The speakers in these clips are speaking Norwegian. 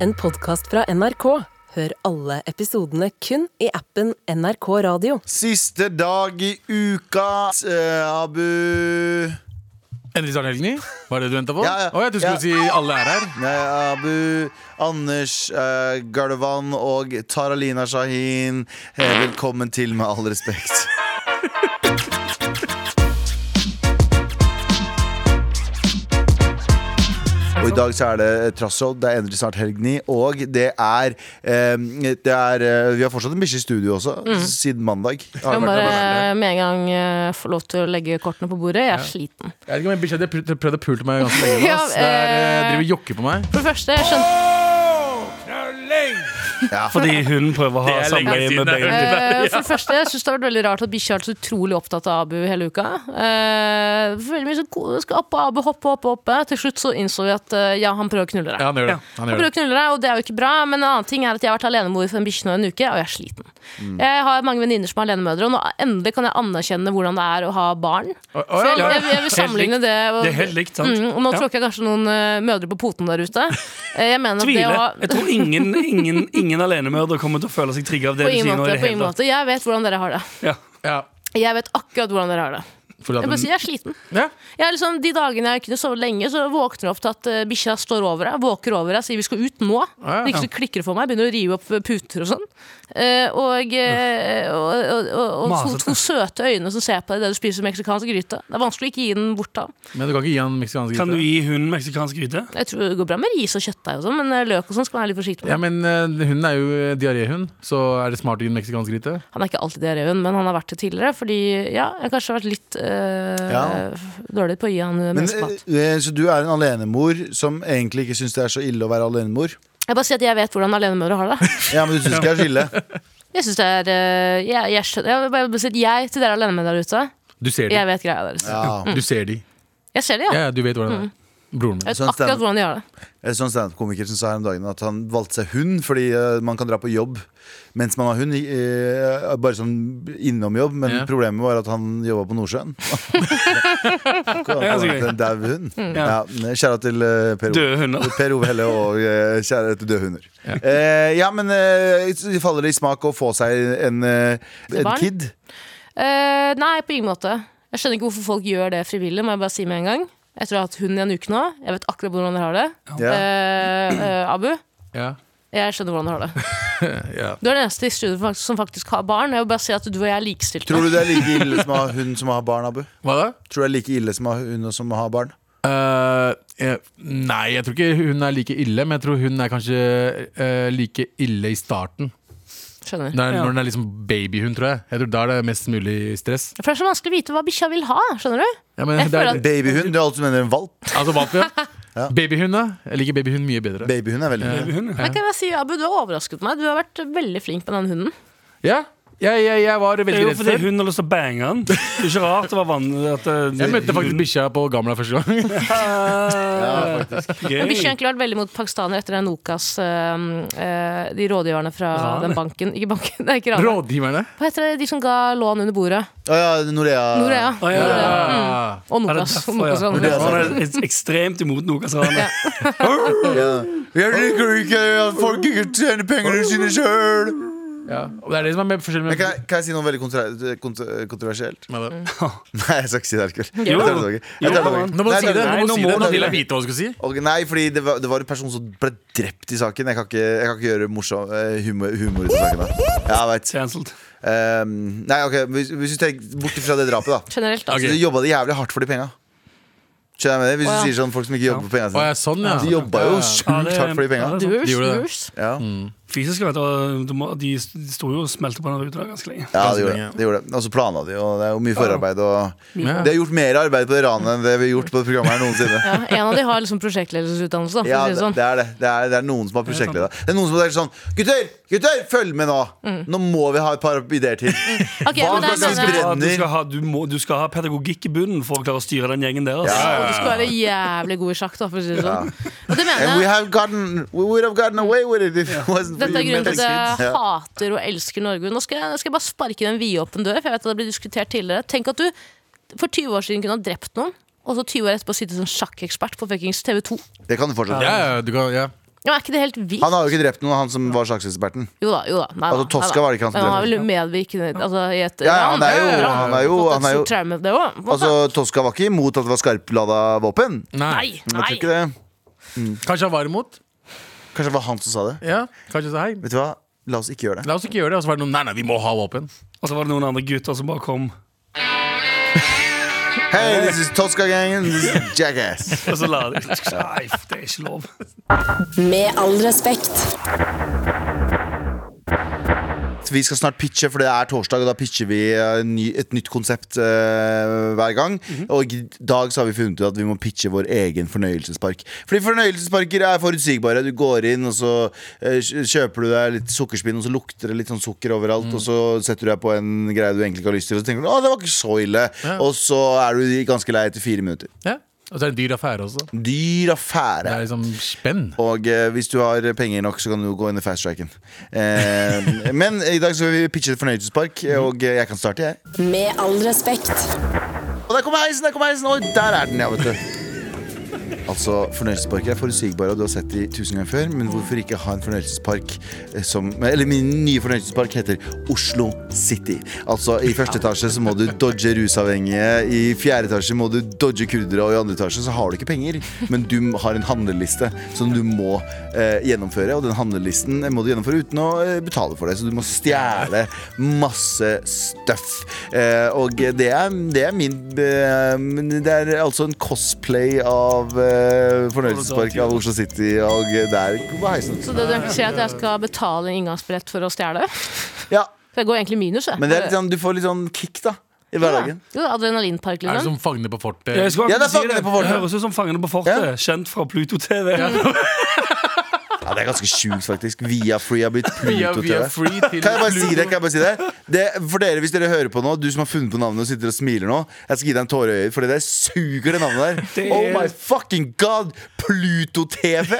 en podkast fra NRK. Hør alle episodene kun i appen NRK Radio. Siste dag i uka, eh, Abu Endelig starter helgen i. Var det du venta på? Ja, ja. Å, jeg trodde du skulle si alle er her. Nei, Abu, Anders eh, Gardevan og Taralina Shahin. Eh, velkommen til, med all respekt. Og I dag så er det Trasshold, det er endelig snart Helgni, og det er, eh, det er eh, Vi har fortsatt en bikkje i studio også, siden mandag. Har det Jeg må vært noe- bare med en gang eh, få lov til å legge kortene på bordet. Jeg er sliten. Jeg vet ikke om jeg bikkja di har pr- prøvd å pule meg ganske lenge. nå, ass. Ja, Det er, eh, eh, driver og jokker på meg. For det første, jeg skjønte Fordi hun prøver å ha Det er lenge samarbeid siden med jeg begge. hørte Eh, for det første, jeg synes det har vært veldig rart at bikkja har vært så utrolig opptatt av Abu hele uka. Eh, veldig mye sånn ko- skal opp og Abu hoppe, hoppe, hoppe. Til slutt så innså vi at eh, ja, han prøver å knulle deg. Ja, han gjør det. Han Jeg gjør prøver det. å knulle deg, og det er jo ikke bra, men en annen ting er at jeg har vært alenemor for en bikkje nå en uke, og jeg er sliten. Mm. Jeg har mange venninner som er alenemødre, og nå endelig kan jeg anerkjenne hvordan det er å ha barn. Å, å, Så jeg, ja, jeg, ja. jeg vil sammenligne det og, Det er helt likt, sant? Mm, og nå Ja. tråkker jeg kanskje noen eh, mødre på poten der ute. Eh, Jeg mener at det å Tviler. ha Jeg tror ingen, ingen, ingen alenemørdere kommer til å føle seg trigga av på det du ingen, sier nå. i måte, det på ingen hele tatt. måte. Jeg vet hvordan dere har det. Ja. Ja. Jeg vet akkurat hvordan dere har det. Fordi at Jeg bare den- sier jeg er sliten. ja. Jeg er liksom, de dagene jeg kunne sove lenge, så våkner jeg opp til at eh, bikkja står over deg, våker over deg, sier vi skal ut nå. Ja, ja. Det ikke så klikker det for meg, begynner å rive opp puter og sånn. Eh, og eh, og, og, og, og to, Masete. to søte øyne som ser på deg idet du spiser meksikansk gryte. Det er vanskelig å ikke gi den bort da. Men du kan ikke gi han meksikansk Kan du gryte? gi hunden meksikansk gryte? Jeg tror det går bra med ris og kjøttdeig og sånn, men eh, løk og sånn skal man være litt forsiktig med. Ja, men eh, Hunden er jo eh, diaréhund, så er det smart å gi den meksikansk gryte? Han er ikke alltid diaréhund, men han har vært det tidligere, fordi ja, jeg har kanskje vært litt eh, Ja. dårlig på å gi han eh, Men, menneskemat. eh, så du er en alenemor som egentlig ikke syns det er så ille å være alenemor? Jeg bare sier at jeg vet hvordan alenemødre har det. Ja, men du syns ikke det er så ille? Jeg synes det er eh, Jeg, jeg, skjønner, jeg, vil bare si at jeg til dere alene med der ute, Du ser de. jeg vet greia deres. Ja. Du ser de. Jeg ser det, ja. Mm. Ja, ja, du vet hvordan det er. Broren min. Jeg vet Sånn stemmer. akkurat hvordan de gjør det. En sånn standup-komiker som sa her om dagen at han valgte seg hund fordi eh, man kan dra på jobb mens man har hund. eh, bare sånn innomjobb, men Ja. problemet var at han jobba på Nordsjøen. Kom, Ja, så gøy. en dau hund. Ja, Ja. kjære til eh, Per Ove. Døde hunder. Per Ove Helle og eh, kjære til døde hunder. Ja, ja men eh, faller det i smak å få seg en, eh, en Barn? kid? Eh, nei, på ingen måte. Jeg skjønner ikke hvorfor folk gjør det frivillig, må jeg bare si med en gang. Jeg tror jeg har hatt hund i en uke nå. Jeg vet akkurat hvordan dere har det. Ja. Eh, eh, Abu, Ja. jeg skjønner hvordan dere har det. Ja. Du er den eneste i studio som faktisk- som faktisk har barn. Jeg vil bare si at du og jeg er likestilte. Tror du det er like ille som å ha hund som å ha barn, Abu? Hva da? Tror du det er like ille som å ha hund og som å ha barn? Eh, jeg- nei, jeg tror ikke hun er like ille, men jeg tror hun er kanskje eh, like ille i starten. Skjønner. Når, Ja. når den er liksom babyhund, tror jeg. Jeg tror Da er det mest mulig stress. For det er så vanskelig å vite hva bikkja vil ha, skjønner du? Ja, men Jeg det er, føler at- Babyhund, du er alt som mener en valp. altså valp, ja. Ja. Babyhund, da? Jeg liker babyhund mye bedre. Babyhund er veldig Ja. Hun, ja. Men kan jeg bare si, Abu, du har overrasket meg. Du har vært veldig flink med den hunden. Ja, jeg, jeg, jeg var Det veldig er jo redd fordi før. hun har lyst til å bange han. Det er ikke rart det var vanlig at eh, Jeg møtte faktisk bikkja på Gamla første gang. Ah. Men Bikkja har egentlig vært veldig mot pakistanere etter den Nokas øhm, øh, De rådgiverne fra Rane. den banken Ikke banken, det er ikke Rane. Rådgiverne. Hva heter det, de som ga lån under bordet? Å ja, Norea. Norea. Å, ja. Norea. Ja. Og Er det Nokas. derfor, Og Nokas ja? Rane. Norea. Han er ek- ekstremt imot Nokas-ranet. Ja. Jeg liker ikke at folk ikke tjener pengene sine sjøl. Mm. Ja. Og det er det som er med forskjellen Kan, med jeg- kan jeg si noe veldig kontra kontra- kontroversielt? med det. Nei, jeg skal ikke si det. Herkul. Jeg Jo. tar det tilbake. Jeg tar det tilbake. Nå må du Nei, si det! jeg Nå må, tar si det. tilbake. Nå vil jeg vite hva du skal si. Og nei, fordi det var, det var en person som ble drept i saken. Jeg kan ikke, jeg kan ikke gjøre morsom, eh, humor, humor ut av saken. Da. Ja, jeg vet. Cancelled. Ehm, nei, ok, hvis, hvis du tenker bort fra det drapet, da. Generelt, da. Ok. Så du Altså, jobba det jævlig hardt for de penga. Skjønner jeg med det? Hvis Å, du ja. sier sånn folk som ikke jobber for penga Å, sine. ja, sånn, ja. De jobba jo Ja, sjukt det- hardt Mm, for de penga. ja, det er sant. Durs, De gjorde det. sånn. durs. Ja. Fysisk, vet du. og de må- De sto jo og smelte på den ruta der ganske lenge. Ja, Ganske det gjorde lenge, det. ja. det gjorde det. Og så plana de, og det er jo mye forarbeid. Og Ja. de har gjort mer arbeid på det ranet enn det vi har gjort på det programmet her noensinne. Ja, en av de har liksom prosjektledelsesutdannelse, da, for Ja, å si det, det sånn. det er det. Det er, det er noen som har prosjektleda. Det er noen som har sagt sånn Gutter, gutter, følg med nå! Mm. Nå må vi ha et par ideer til. Ok, Hva men det slags er- sånn- men Du det er- skal, du, brenner. skal ha, du, må, du skal ha pedagogikk i bunnen for å klare å styre den gjengen der. Altså. Og du skal være jævlig god i sjakk, da, for å si det sånn. Og det And mener we jeg. have gotten We would have gotten away with it if it wasn't for Dette er you grunnen til meddicines. at jeg Ja. hater og elsker Norge. Nå skal jeg, nå skal jeg bare sparke den vidåpen dør, for jeg vet at det ble diskutert tidligere. Tenk at du for 20 år siden kunne ha drept noen, og så 20 år etterpå sitte som sjakkekspert på fuckings TV 2. Det kan du fortsatt. Ja, ja, du kan, ja. Ja, men er ikke det helt vilt? Han har jo ikke drept noen, han som var sakseksperten. Jo da, jo da. Nei, Altså, da, Tosca nei da. var det ikke han som Men Han har drev vel medvirkende altså, i et Ja, ja, han er jo- Bra. han er jo- Fått et han er jo- stort traume, det også, på en måte. Altså, Tosca var ikke imot at det var skarplada våpen. Nei, Jeg tror ikke nei. det. Kanskje han var imot? Kanskje det var han som sa det. Ja, kanskje sa hei. Vet du hva? La oss ikke gjøre det. La oss ikke gjøre det. Og så var det noen Nei, nei, vi må ha våpen. Og så var det noen andre gutter som bare kom, Hey, this is Tosca-gangen. This is Jackass. og så la de Nei, det er ikke lov. Med all respekt. Vi skal snart pitche, for det er torsdag, og da pitcher vi eh, ny, et nytt konsept eh, hver gang. Og i dag så har vi funnet ut at vi må pitche vår egen fornøyelsespark. Fordi fornøyelsesparker er forutsigbare. Du går inn, og så eh, kj- kjøper du deg litt sukkerspinn, og så lukter det litt sånn sukker overalt, og så setter du deg på en greie du egentlig ikke har lyst til, og så tenker du å, det var ikke så ille. Ja. Og så er du ganske lei etter fire minutter. Ja. Og så er det en dyr affære også. Dyr Det affære. er liksom spenn. Og eh, hvis du har penger nok, så kan du gå inn i fast tracken. Eh, men i dag så vil vi pitche et fornøyelsespark, og eh, jeg kan starte, jeg. Med all respekt. Og der kommer heisen, der kommer heisen! Oi, der er den, ja, vet du. Altså, Fornøyelsesparker er forutsigbare, og du har sett de tusen ganger før. Men hvorfor ikke ha en fornøyelsespark eh, som Eller min nye fornøyelsespark heter Oslo City. Altså, i første etasje så må du dodge rusavhengige, i fjerde etasje må du dodge kurdere, og i andre etasje så har du ikke penger, men du har en handleliste som du må eh, gjennomføre, og den handlelisten må du gjennomføre uten å eh, betale for det, så du må stjele masse stuff. Eh, og det er, det er min eh, men Det er altså en cosplay av eh, fornøyelsespark av Oslo City, og det er Hva er heisen? Så det du egentlig sier, er at jeg skal betale en inngangsbillett for å stjele? Ja, Så jeg går egentlig minus, jeg. men det er litt sånn, du får litt sånn kick, da, i hverdagen. Ja, det er Adrenalinpark, Er det liksom. som Fangene på fortet? Jeg skulle Ja, det er akkurat si Fangene det. på fortet. Det høres ut som Fangene på fortet, Ja. kjent fra Pluto TV. Ja, Det er ganske sjukt, faktisk. Via Free har blitt Via, via Pluto-TV. free til Kan jeg bare si Pluto. det? kan jeg bare si det? det For dere, Hvis dere hører på nå, du som har funnet på navnet og sitter og smiler nå, jeg skal gi deg en tåre i øyet, for det der suger, det navnet der. Det- Oh my fucking god! Pluto-TV!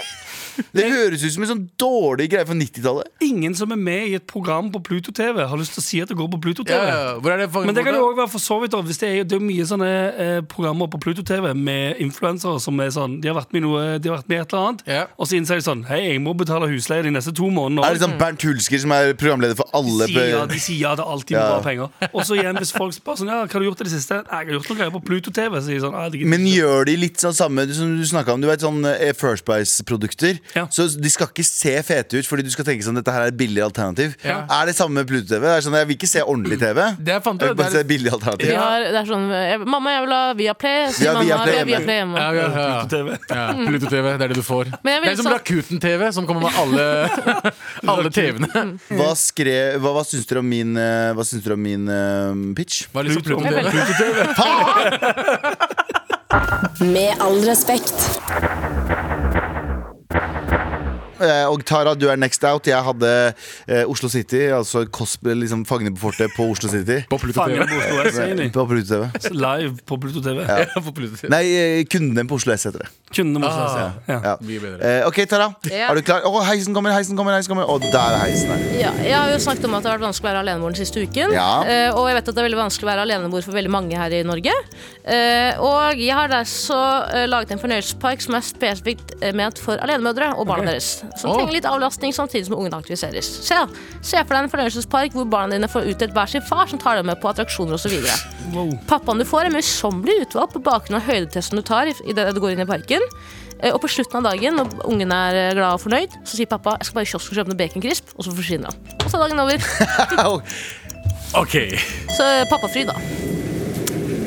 Det høres ut som en sånn dårlig greie fra 90-tallet. Ingen som er med i et program på Pluto TV, har lyst til å si at det går på Pluto TV. Ja, ja, ja. Hvor er det Fangene Men det på kan jo fortet? også være for så vidt da, hvis det, er, det er jo mye sånne eh, programmer på Pluto TV med influensere som er sånn De har vært med i noe, de har vært med i et eller annet, Ja. og så innser de sånn Hei, jeg må betale husleie de neste to månedene. Er det sånn Bernt Hulsker som er programleder for alle Sier ja, på- Mm. de sier ja, det er alltid Ja. bare penger. Og så igjen, hvis folk spør sånn, ja, hva har du gjort i det siste? Nei, jeg har gjort noe greier på Pluto TV. Så sier de sånn, «Nei, det gidder jeg Men gjør de litt sånn samme som du snakket om? Du vet sånn eh, First Price-produkter. Ja. Så de skal ikke se fete ut, fordi du skal tenke sånn dette her er et billig alternativ. Ja. Er det samme med Pluto TV? Det er sånn, Jeg vil ikke se ordentlig TV. Det jeg fant ut, jeg vil det bare er- se billig alternativ. Vi har, det er sånn jeg, 'Mamma, jeg vil ha Viaplay', Vi sier har mamma. Viaplay vi har hjemme. Viaplay hjemme. Ja, ja, ja. ikke på Pluto TV. Ja, Pluto-TV, det er det du får. Det Men jeg vil er som sa- Rakuten-TV, som kommer med alle, alle TV-ene. Hva, skrev, hva, hva syns dere om min, eh, hva syns dere om min eh, pitch? Hva er liksom Pluto. Pluto-TV? Med all respekt. Eh, og Tara, du er next out. Jeg hadde eh, Oslo City, altså Cosby, liksom Fangene på fortet på Oslo City. På Pluto-TV. Fanger på Oslo S, egentlig. På Pluto TV. Live på Pluto TV. Ja, på Pluto-TV. Nei, eh, kundene på Oslo S heter det. Kundene må se Ah. Ja. Ja. Mye bedre. Eh, ok, Tara. Ja. Er du klar? Å, heisen kommer, heisen kommer! heisen kommer Å, der er heisen. her. Ja, jeg har jo snakket om at det har vært vanskelig å være alenemor den siste uken. Ja. Eh, og jeg vet at det er veldig vanskelig å være alenemor for veldig mange her i Norge. Eh, og jeg har der så eh, laget en fornøyelsespark som er spesifikt eh, ment for alenemødre og barna deres. Som Å. trenger litt avlastning samtidig som ungene aktiviseres. Se, da. se for deg en fornøyelsespark hvor barna dine får utdelt hver sin far, som tar dem med på attraksjoner osv. Wow. Pappaen du får, er møysommelig utvalgt på bakgrunn av høydetesten du tar idet du går inn i parken. Eh, Og på slutten av dagen, når ungen er eh, glad og fornøyd, så sier pappa 'jeg skal bare i kiosken og kjøpe noe baconcrisp', og så forsvinner han. Og så er dagen over. Au. Ok. Så eh, pappafryd, da.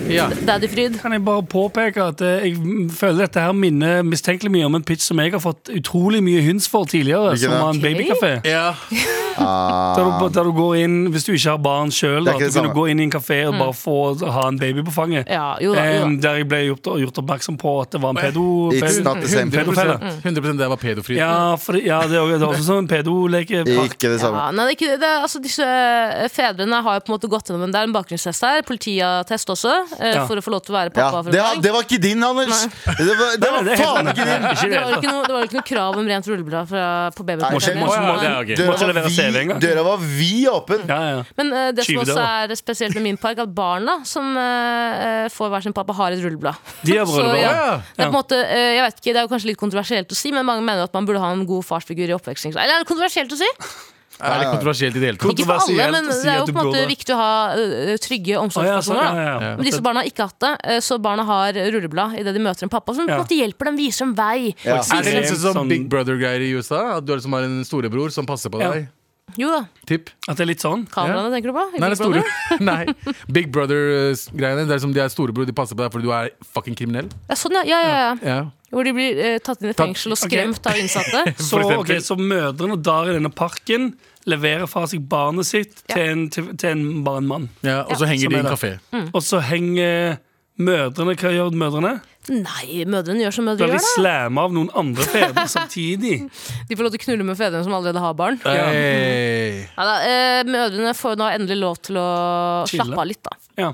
Ja. Daddyfryd. Kan jeg bare påpeke at eh, jeg føler dette her minner mistenkelig mye om en pitch som jeg har fått utrolig mye hints for tidligere, Hvilken som da? var en Ok. babykafé. ja. Der du, der du går inn, hvis du ikke har barn sjøl, Det er ikke det kan du samme. gå inn i en kafé og bare få ha en baby på fanget. Mm. Ja, jo da. Jo da. Em, der jeg ble gjort, gjort oppmerksom på at det var en pedo... It's pedo- not the same. 100, 100 det var pedofritt. Ja, for, det- ja, det er også- det er også sånn en pedolekepark. Ikke det samme. Ja, nei, det, er ikke, det, er- altså, disse eh, fedrene har jo på en måte gått gjennom en- Det er en bakgrunnstest her, politiattest også. eh, Ja. for å få lov til å være Ja, pappa. for det, en har- gang. det var ikke din, Anders! Det var, det var Nei, det er helt faen ikke din! Det Ikke var jo det. ikke noe, det var jo ikke noe krav om rent rulleblad fra, på Nei, Må babypakken. ikke- må ikke- må ikke- Ja, ok. Må ikke Døra levere CV var, engang. vi, døra var vid åpen. Ja, ja. Men eh, det som Skyv det, også er spesielt med min park, at barna som eh, eh, får hver sin pappa, har et rulleblad. De har Så, brødre. ja. Ja. Det er på en måte, eh, jeg vet ikke, det er jo kanskje litt kontroversielt å si, men mange mener at man burde ha en god farsfigur i oppveksten. Eller er det kontroversielt å si? Er det kontroversielt i det hele tatt? Ikke for alle, Kontroversielt men å si det er at jo du på en måte burde- viktig å ha eh, trygge Å, ja, så- omsorgspersoner. da. ja, ja, ja. Men disse barna har ikke hatt det, eh, så barna har rulleblad idet de møter en pappa som på en Ja. måte hjelper dem, viser dem vei. Ja. Er det litt sånn Sånn- Big Brother-greier i USA? At du er liksom har en storebror som passer på Ja. deg? Jo da, Tipp? At det er litt sånn. kameraene tenker du på? Nei, det er Ikke brother? store, nei. Big Brother-greiene. Det er som de er storebror, de passer på deg fordi du er fucking kriminell. Ja, sånn, ja. ja, ja, ja. Ja. Hvor de blir eh, tatt inn i Tatt- fengsel og Ok. skremt av innsatte. Så, eksempel. ok, så mødrene der i denne parken leverer fra seg barnet sitt Ja. til, en, til, til en, bare en mann. Ja, og så henger Sånn de i er en det. kafé. Mm. Og så henger mødrene Hva gjør mødrene? Nei, mødrene gjør som mødre Blir de gjør. da slamma av noen andre fedre samtidig? De får lov til å knulle med fedrene som allerede har barn. Hey. Ja, da, eh, mødrene får nå endelig lov til å Chille. slappe av litt, da. Ja.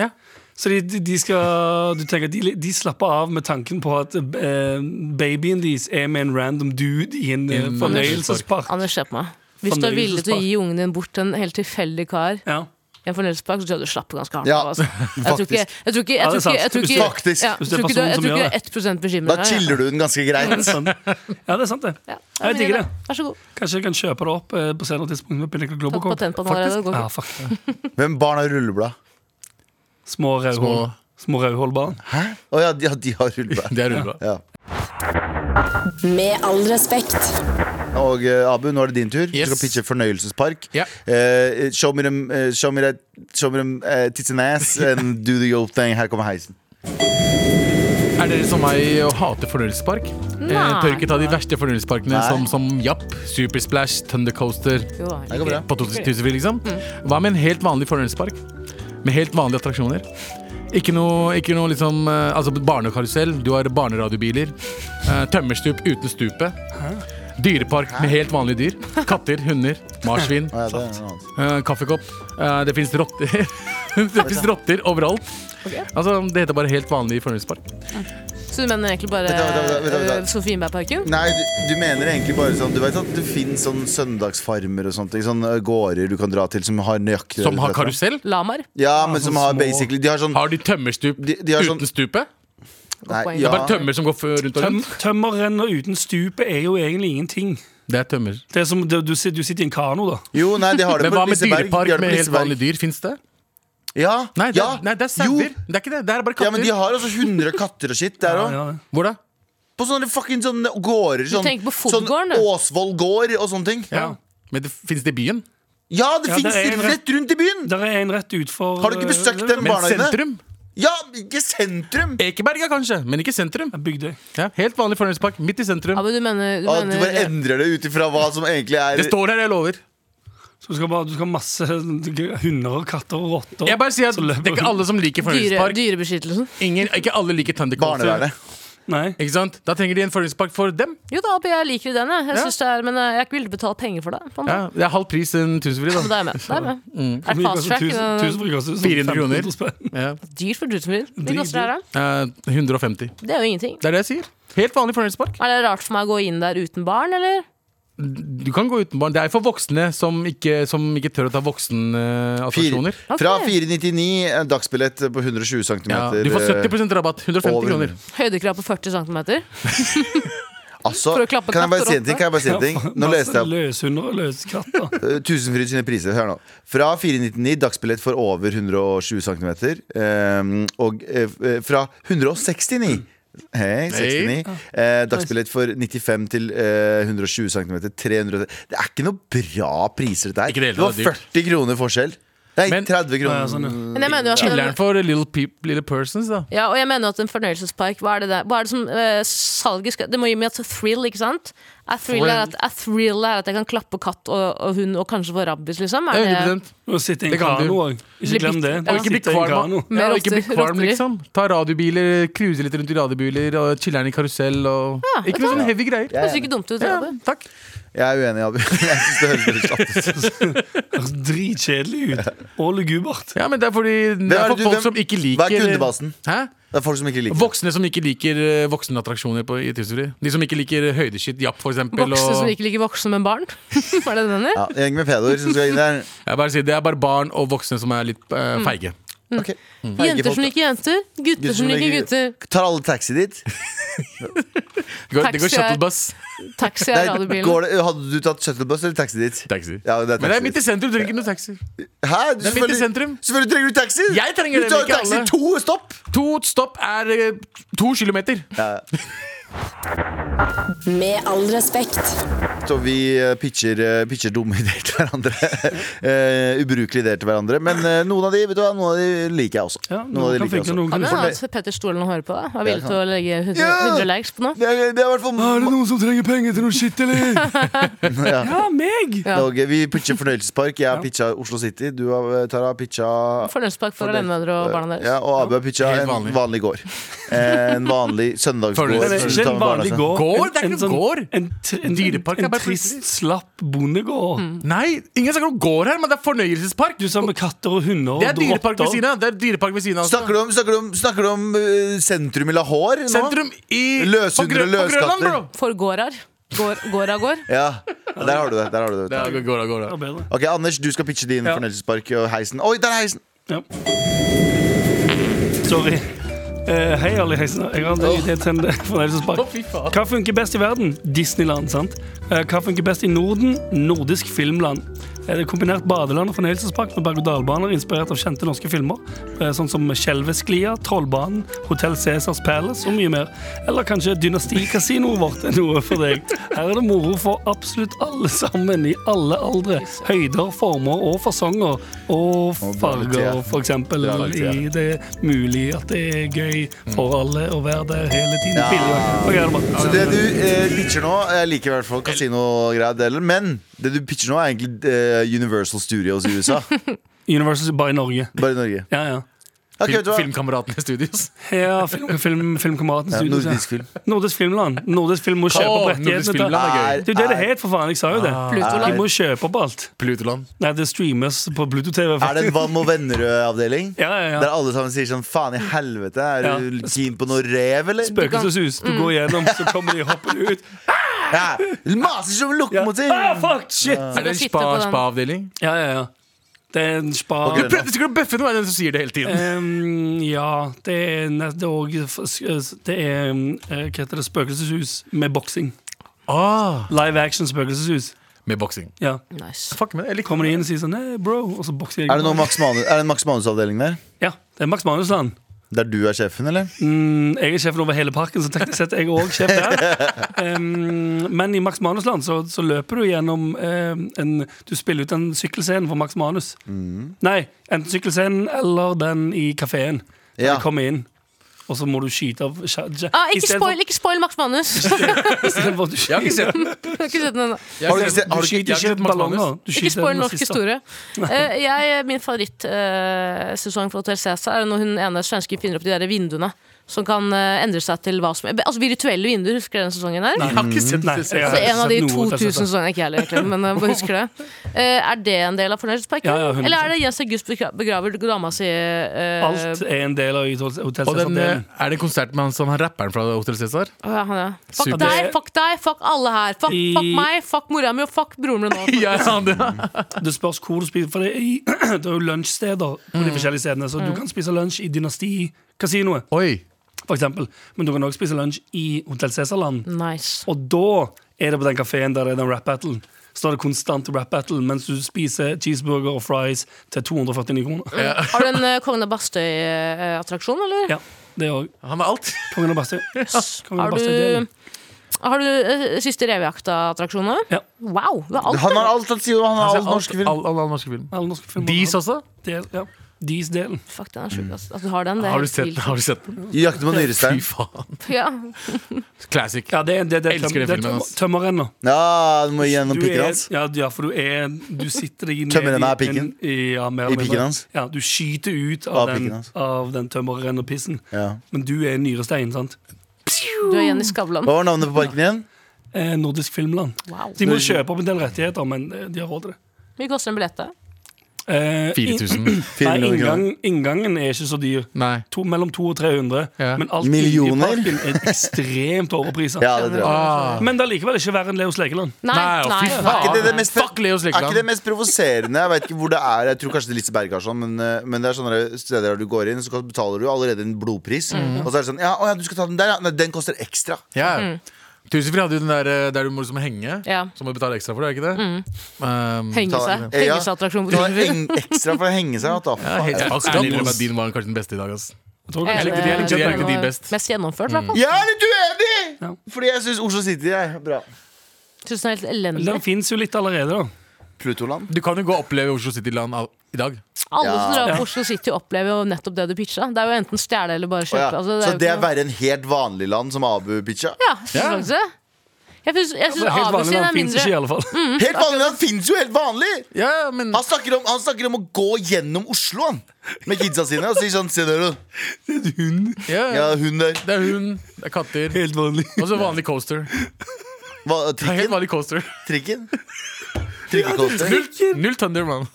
Ja. Så de, de, de skal Du tenker at de, de slapper av med tanken på at eh, babyen deres er med en random dude i en eh, en fornøyelsespark. Anders, se på meg. Hvis du er villig til å gi ungen din bort til en helt tilfeldig kar Ja. i en fornøyelsespark, så tror jeg du slapper ganske hardt Ja, av. Altså. Jeg tror ikke jeg tror ikke- jeg Ja, det tror ikke- jeg er sant. tror Hvis ikke- du- faktisk. ja, jeg Hvis det er tror ikke du jeg tror personen som ikke gjør du er 1 bekymra. Da chiller du den ganske greit. Sånn. ja, det er sant, det. Ja, Jeg digger det. Vær så god. Kanskje jeg kan kjøpe det opp eh, på senere tidspunkt med Pinnacle Global Tatt patent på den Faktisk. allerede, det går Ja, fuck. Hvem barn har rulleblad? Små rødhål. Små rødhålbarn. Hæ? Å ja, de, ja, de har rulleblad. Det er rulleblad. Ja. Med all respekt. Og eh, Abu, nå er det din tur. Yes. Du skal pitche fornøyelsespark. Ja. Eh, show me them, eh, show me that, show me them eh, tits and ass and do the yo thing. Her kommer heisen. Er dere som meg og hater fornøyelsespark? Eh, tør ikke ta de verste fornøyelsesparkene Nei. som, som Japp, Supersplash, Thundercoaster Jo, Her kommer det. på 2000 liksom. Hva med en helt vanlig fornøyelsespark? Med helt vanlige attraksjoner? Ikke noe, ikke noe liksom eh, Altså barnekarusell, du har barneradiobiler. eh, Tømmerstup uten stupet. Dyrepark med helt vanlige dyr. Katter, hunder, marsvin. Å, ja, det er noe annet. Eh, kaffekopp. Eh, det fins rotter Det fins rotter overalt. Altså, det heter bare helt vanlig fornøyelsespark. Så du mener egentlig bare Vent da, vent da, vent da, vent da. eh, Sofienbergparken? Nei, du, du mener egentlig bare sånn Du vet at det finnes sånn søndagsfarmer og sånt. ikke? Sånne gårder du kan dra til som har nøyaktig Som har karusell. Lamaer? Ja, men som har små- basically De har sånn Har de tømmerstup De- de har sånn- uten stupet? nei, poeng. ja, Bare tømmer som går f- rundt og Tøm, rundt? tømmerrenner uten stupet er jo egentlig ingenting. Det er tømmer. Det er som, det, du, sit- du sitter i en kano, da. Jo, nei, de har det Men hva med dyrepark med helt vanlig vanlige dyr? Fins det? Ja, Nei, det, ja. er- nei, det er Jo. sauer. Det er ikke det. Det er bare Ja, men katter. de har altså 100 katter og shit der òg. Ja, ja. Hvor da? På sånne fucking sånne gårder. Sånn, tenker på sånn Fodgården, du. Åsvoll gård og sånne ting. Ja. Men det fins det i byen? Ja, det Ja, finnes det er en- rett rundt i byen! Der er en rett eh, utfor Har du ikke besøkt den Men barnehagen? sentrum? Ja, ikke sentrum! Ekeberga kanskje, men ikke sentrum. eh, Bygdøy. Ja, helt vanlig fornøyelsespark midt i sentrum. Ja, men du mener, du Ja, du mener bare endrer det ut ifra hva som egentlig Det er står her, jeg lover. Så du skal, bare, du skal ha masse hunder og katter og rotter. Jeg bare sier at Så løper Det er ikke alle som liker dyre, fornøyelsespark. Dyrebeskyttelsen? Ingen- Ikke alle liker Thundercoaster. barnevernet. Nei. Ikke sant? Da trenger de en fornøyelsespark for dem. Jo da, Abu, jeg liker den, jeg. jeg Ja. synes det er, men eh, jeg er ikke villig til å betale penger for det. på en måte. Ja, Mm. det er halv pris en tusenfryd. Men da. da er jeg med. Da er jeg med. Er det Tusen- fast track? tusen- tusen eh, for ikke å si sånn 400 kroner. 1500 spenn. Ja. Dyrt for tusenfryd. Hva koster det her, da? Eh, 150. Det er jo ingenting. Det er det jeg sier. Helt vanlig fornøyelsespark. Er det rart for meg å gå inn der uten barn, eller? Du kan gå uten barn. Det er for voksne som ikke, som ikke tør å ta voksenattraksjoner. Fire, Ok. fra 499, en dagsbillett på 120 cm. Ja, du får 70 rabatt. 150 over. kroner. Høydekrav på 40 cm. Altså, For å klappe kan jeg bare katter si en opp, ting? Kan jeg bare si en ting? Nå leste jeg opp Løshunder og løskatter. eh, Tusenfryd sine priser. Hør nå. Fra 499, dagsbillett for over 120 cm. og eh, eh, fra 169 Hei, 69. Ah. Eh, dagsbillett for 95 til eh, 120 cm. 300 Det er ikke noe bra priser, dette Ikke det hele her. Det var tatt, det er dyrt. 40 kroner forskjell. Nei, Men- 30 Ja, kroner. sånn, ja. Men jeg mener jo at Chiller'n for little, peop, little persons, da. Ja, og jeg mener at en fornøyelsespark Hva er det, der? Hva er det som eh, salget skal Det må gi meg et thrill, ikke sant? A thrill, er at, a thrill er at jeg kan klappe katt og, og hund og kanskje få rabies, liksom. Det er Er 100 det Og sitte i Det en kan kano du. òg. Ikke glem det. Ja. Og ikke bli Sitte i en kvalm, kano. ja, og ikke bli Rotter- kvalm rotter i. liksom. Ta radiobiler, cruise litt rundt i radiobiler, og chiller'n i karusell og Ikke noe sånn heavy greier. høres ikke dumt ut. Ja, Abu. takk. Jeg er uenig, Abu. Jeg synes det høres sånn. veldig slapt ut. Høres dritkjedelig ut. Og lugubert. Ja, men det er fordi det er det er for du- folk hvem- som ikke liker eh, Hva er kundebasen? Hæ? Det er folk som ikke liker det. Voksne som ikke liker eh, voksenattraksjoner på, i tidsfri. De som ikke liker eh, høydeskitt, japp, for eksempel. Voksne og, som ikke liker voksne, men barn. Hva er det du mener? Ja, en gjeng med pedoer som skal inn der. jeg bare sier, det er bare barn og voksne som er litt eh, Mm. feige. Ok. Feige Jenter folk, som da. liker jenter, gutter som liker gutter. Tar alle taxi dit? Det går, det går Taxi er- shuttlebuss. Taxi er Nei, radiobilen. går det, hadde du tatt shuttlebuss eller taxi dit? Taxi. Ja, det er Men det taxi. er midt i sentrum, du trenger ikke noe taxi. Hæ? Du Det er midt i selvfølgelig- sentrum. Selvfølgelig trenger du taxi! Jeg trenger du det, tar men ikke taxi alle. to stopp! To stopp er eh, to kilometer. Med all respekt. Så vi eh, pitcher, eh, pitcher dumme ideer til hverandre. Eh, ubrukelige ideer til hverandre. Men eh, noen av de vet du hva, noen av de liker jeg også. Ja, noen av de noen kan liker jeg funke, også. noen Ja, kan men ikke. altså, Petter Stolen hører på deg. Er Jeg villig til å legge 100, Ja! 100 likes på noe. Det er, det er i hvert fall Er det noen som trenger penger til noe skitt, eller? Ja. Ja, meg! Ja. Og, eh, Vi pitcher fornøyelsespark. Jeg har pitcha Oslo City. Du har, eh, Tara, har pitcha Fornøyelsespark for alenemødre og barna deres. ja, Og Abu har pitcha Helt en vanlig. vanlig gård. Eh, En vanlig søndagsgård. Nei, nei, som sånn du tar Ikke en med barna vanlig seg. gård. Gård? Det er En- ikke en noen sånn- gård. En, tr- en, Dyrepark er en, en bare trist, plutselig. slapp bondegård. Nei, ingen snakker om gård her, men det er fornøyelsespark. Du sa med katter og hunder og Det er dyrepark ved rotter. siden av. Det er dyrepark ved siden av. Snakker du om, snakker du om, snakker du om eh, sentrum i Lahore nå? Sentrum i Løshunder på Grø- og på Grønland, løskatter. bro. For gårdar. Går, gårdagård. Ja, der har du det. Der har du det. Det er går, går, går, Det er bedre. Ok, Anders, du skal pitche din Ja. fornøyelsespark og heisen. Oi, der er heisen! Ja. Sorry. Eh, hei, alle i heisen. Jeg har en idé til en fornøyelsespark. fy faen. Hva funker best i verden? Disneyland, sant? Eh, Hva funker best i Norden? Nordisk filmland. Er det er kombinert badeland og fornøyelsespark med berg-og-dal-baner inspirert av kjente norske filmer? eh, Sånn som Skjelvesklia, Trollbanen, Hotell Cæsars Palace og mye mer. Eller kanskje Dynastikasinoet vårt er noe for deg. Her er det moro for absolutt alle sammen, i alle aldre. Høyder, former og fasonger. Og farger, for eksempel. I det mulig at det er gøy for alle å være der hele tiden. Ok, det er bra. Så det du eh, pitcher nå Jeg liker i hvert fall kasinogreier, det, men det du pitcher nå, er egentlig eh, Universal Studios i USA. Universal bare i Norge. Bare i Norge. Ja, ja. Ok, vet du Film, hva? Filmkameratene Studios. ja film, film, filmkameraten Ja, Studios, ja. nordisk film. Nordisk filmland. Nordisk film må kjøpe Åh, på nordisk rettighetene. filmland er Det er jo det det het, for faen. Jeg sa jo det. Ah. De må kjøpe på alt. Plutoland. Nei, det streames på Bluetooth-TV. Er det en Vam og Vennerød-avdeling? Ja, ja, Der ja. alle sammen sier sånn Faen i helvete, Ja. er du keen på noe rev, eller? Spøkelseshus. Du går gjennom, så kommer de hoppende Mm. ut. Ja. Maser som Ja. lokomotiv! Ah, fuck, shit! Er det en sitte spa- på den. spa-avdeling? Ja, ja, ja. Det er en spa... Og grønn. Prøv ikke å bøffe noe, er det den som sier det hele Eh. tiden. Ehm, ja, det er, ne- det er, også- det er eh, Hva heter det? Spøkelseshus med boksing. Ah, Live action spøkelseshus. med boksing. Ja. Nice. Fuck med det. Jeg liker Kommer de inn og sier sånn Nei, bro. Og så bokser de. Er det noe Max Manus, er det en Max Manus-avdeling der? Ja, det er Max Manusland. Der du er sjefen, eller? Mm, jeg er sjefen over hele parken, så teknisk sett er jeg òg sjef der. Um, men i Max Manusland så, så løper du gjennom um, en Du spiller ut den sykkelscenen for Max Manus. Mm. Nei, enten sykkelscenen eller den i kafeen. Ja. Ja. Du kommer inn, og så må du skyte av skje- skje- Ah, ikke, istedenfor- spoil, ikke spoil Max Manus! Jeg istedenfor at du Jeg har ikke skyter- sett den. har ikke sett den ennå. Jeg har Har du ikke ikke sett- sett- har du Du ikke- jeg har ikke skyter sett ikke Max Manus. ballonger. Du Ikke skyter spoil norsk nazister. historie. Eh, jeg, min favorittsesong for Hotel Cæsar er når hun ene svensken finner opp de der vinduene som kan eh, endre seg til hva som Altså virtuelle vinduer, husker dere den sesongen her? Jeg har ikke sett Nei, det. jeg Så har ikke Altså, en av de sett noe 2000 av dette. sesongene Ikke jeg heller, egentlig, men jeg bare husker det. Eh, er det en del av fornøyelsesparken? Ja, ja, 100%. Eller er det Jens August begra- begraver dama si eh, Alt er en del av Hotell Og den, eh, Cæsar-delen. er det en konsert med han som han rapperen fra Hotel Cæsar? Å, ja, han, ja. Fuck Super. deg, fuck deg, fuck alle her. Fuck, I- fuck meg, fuck mora mi og fuck broren min. nå. Ja, han, det. Det spørs hvor du spiser, for det er, i- det er jo lunsjsteder på de forskjellige stedene. Så Mm. du kan spise lunsj i Dynastikasinoet, Oi. for eksempel. Men du kan også spise lunsj i Hotell Cæsarland. Nice. Og da er det på den kafeen der det er den rap-battlen. Så er det konstant rap-battle mens du spiser cheeseburger og fries til 249 kroner. Har du en uh, Kongen av Bastøy-attraksjon, eller? Ja, det òg. Han er alt. Kongen av Bastøy. Kongen av Har Bastøy, det er det. du, har du eh, siste revejakta-attraksjonen? Ja. Wow! Du har alt, Han du. har alt han sier, og han har Altså, alt norske film. All, all, all norske film. Alle norske filmer. Dis også? Del, ja. Dis-delen. Fuck, den er sjuk. ass. At du har den, det er Har du helt sett, vilt. har du sett den? I Jakten på Fy nyrestein. faen. Ja. Classic. Ja, det er, det, er- det, er Elsker tøm- den det er filmen, tøm- ass. tømmerrenner. Ja, du må gjennom Du pikken er- hans. Ja, ja, for du er Du sitter deg ned Tømmerrenna er i en- pikken? i- Ja, mer I eller pikken mindre. hans? Ja, du skyter ut av, Av pikken den, hans. av den tømmerrennerpissen. Ja. Men du er nyrestein, sant? Du er Jenny Skavlan. Hva var navnet på parken igjen? eh, nordisk filmland. Wow. Så de må kjøpe opp en del rettigheter, men eh, de har råd til det. Mye koster en billett, da. Eh, 4000. in- 4 Nei, millioner inngang, kroner. inngangen er ikke så dyr. Nei. To, mellom 200 og 300. Ja. Men alt Millioner? inne i parken er ekstremt overprisa. Ja, det tror jeg. Ah. Men det er likevel ikke verre enn Leos Lekeland. Nei, Nei, å, nei, fy nei. Er ikke det det mest, Fuck Leos er ikke det Lekeland. mest provoserende? Jeg vet ikke hvor det er. Jeg tror kanskje det er Lise Berge har sånn, men, eh, men det er sånne steder der du går inn, så betaler du allerede en blodpris. Og så er det sånn Ja, å ja, du skal ta den der, ja. Nei, den koster ekstra. Ja. Mm. Tusenfryd hadde jo den der eh, der du må liksom henge, Ja. så må du betale ekstra for det, er ikke det? Mm. Um, Henge Ta- seg. Ja. Henge seg attraksjon på Ta Tusenfryd. en ekstra for å henge seg. What the fuck? jeg Ja, skal innrømme at din var kanskje den beste i dag. Ass. Jeg tror Jeg kanskje- likte de- jeg likte de- jeg likte de best. Mest gjennomført, i hvert fall. jeg er litt uenig! Ja. Fordi jeg syns Oslo City er bra. Synes den er helt elendig. Den fins jo litt allerede, da. Plutoland. Du kan jo gå og oppleve Oslo City-land av- i dag. Alle som drar Ja. på Oslo City, opplever jo nettopp det du pitcha. Det er jo enten stjele eller bare Å, ja. kjøpe. Altså, så det jo ikke er noe- verre enn helt vanlig land som Abu pitcha? Ja, jeg synes Ja. faktisk det. Jeg syns, jeg synes Det er helt Abu vanlig, sin men er den fins ikke i mindre alle fall. Mm. Helt vanlig land fins jo helt vanlig! Ja, men Han snakker, om, han snakker om å gå gjennom Oslo han, med kidsa sine og sier sånn Se der, du. Ja, ja, hun der. Det er hund, det er katter, Helt vanlig. og så vanlig coaster. Hva, Det er trikken? Helt vanlig coaster. Trikken? Trikkekoster? Null, null Thunder, mann.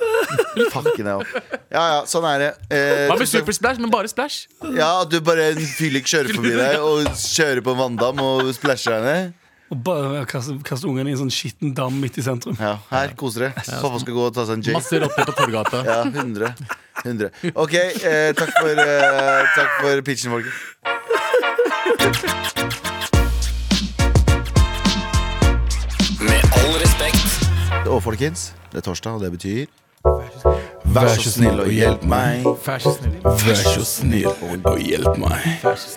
Fucken jeg opp. Ja, ja, sånn er det. Eh, Hva med Super Splash, men bare Splash? ja, du bare en fyllik kjører forbi deg og kjører på en vanndam og splæsjer deg ned. Og bare kaste, kaste ungene i en sånn skitten dam midt i sentrum. Ja, her, koser deg. Pappa skal gå og ta seg en J. sånn. Masse rotter på Torgata. Ja, 100. 100. OK, eh, takk for, eh, takk for pitchen, folkens. Med all respekt. Og folkens, det er torsdag, og det betyr Vær så snill og hjelp meg. Vær så snill. Vær så snill og hjelp meg. Vær så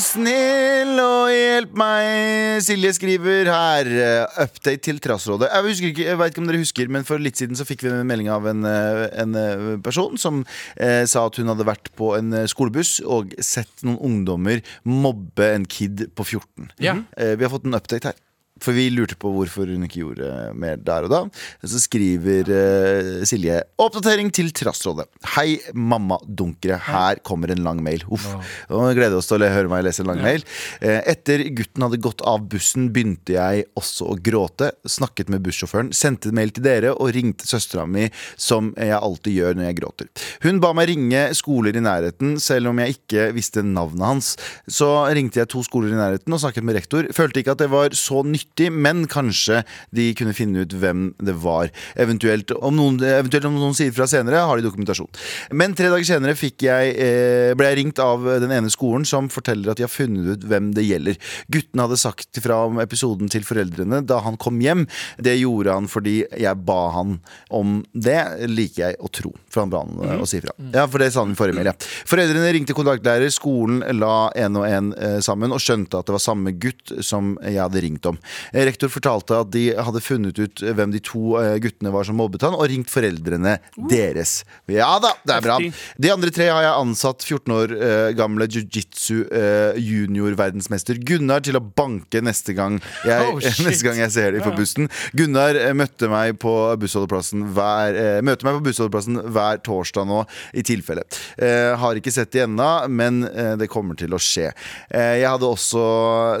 snill og hjelp meg. Silje skriver her. eh, Update til Trassrådet. Jeg, husker ikke, jeg vet ikke om dere husker, men For litt siden så fikk vi en melding av en, eh, en eh, person som eh, sa at hun hadde vært på en eh, skolebuss og sett noen ungdommer mobbe en kid på 14. Ja. Eh, vi har fått en update her. For vi lurte på hvorfor hun ikke gjorde mer der og da. Så skriver eh, Silje Oppdatering til Trassrådet. Hei, mammadunkere. Her kommer en lang mail. Uff. Nå gleder vi oss til å le- høre meg lese en lang mail. Eh, etter gutten hadde gått av bussen, begynte jeg også å gråte. Snakket med bussjåføren, sendte mail til dere og ringte søstera mi, som jeg alltid gjør når jeg gråter. Hun ba meg ringe skoler i nærheten, selv om jeg ikke visste navnet hans. Så ringte jeg to skoler i nærheten og snakket med rektor. Følte ikke at det var så nyttig, men kanskje de kunne finne ut hvem det var. Eventuelt om noen, eventuelt om noen sier fra senere, har de dokumentasjon. Men tre dager senere fikk jeg, eh, ble jeg ringt av den ene skolen som forteller at de har funnet ut hvem det gjelder. Gutten hadde sagt fra om episoden til foreldrene da han kom hjem. Det gjorde han fordi jeg ba han om det, liker jeg å tro. For han ba han eh, å si fra. Ja, for det sa han i forrige mail. Ja. Foreldrene ringte kontaktlærer, skolen la en og en eh, sammen og skjønte at det var samme gutt som jeg hadde ringt om. Eh, Rektor fortalte at de hadde funnet ut hvem de to eh, guttene var som mobbet han, og ringt foreldrene deres. Ja da, det er bra. Heftig. De andre tre har jeg ansatt 14 år eh, gamle jiu-jitsu eh, junior-verdensmester Gunnar til å banke neste gang jeg, Oh, shit. neste gang jeg ser dem på bussen. Gunnar eh, møtte meg på bussholdeplassen hver, eh, møter meg på bussholdeplassen hver torsdag nå, i tilfelle. Eh, har ikke sett de ennå, men eh, det kommer til å skje. Eh, jeg hadde også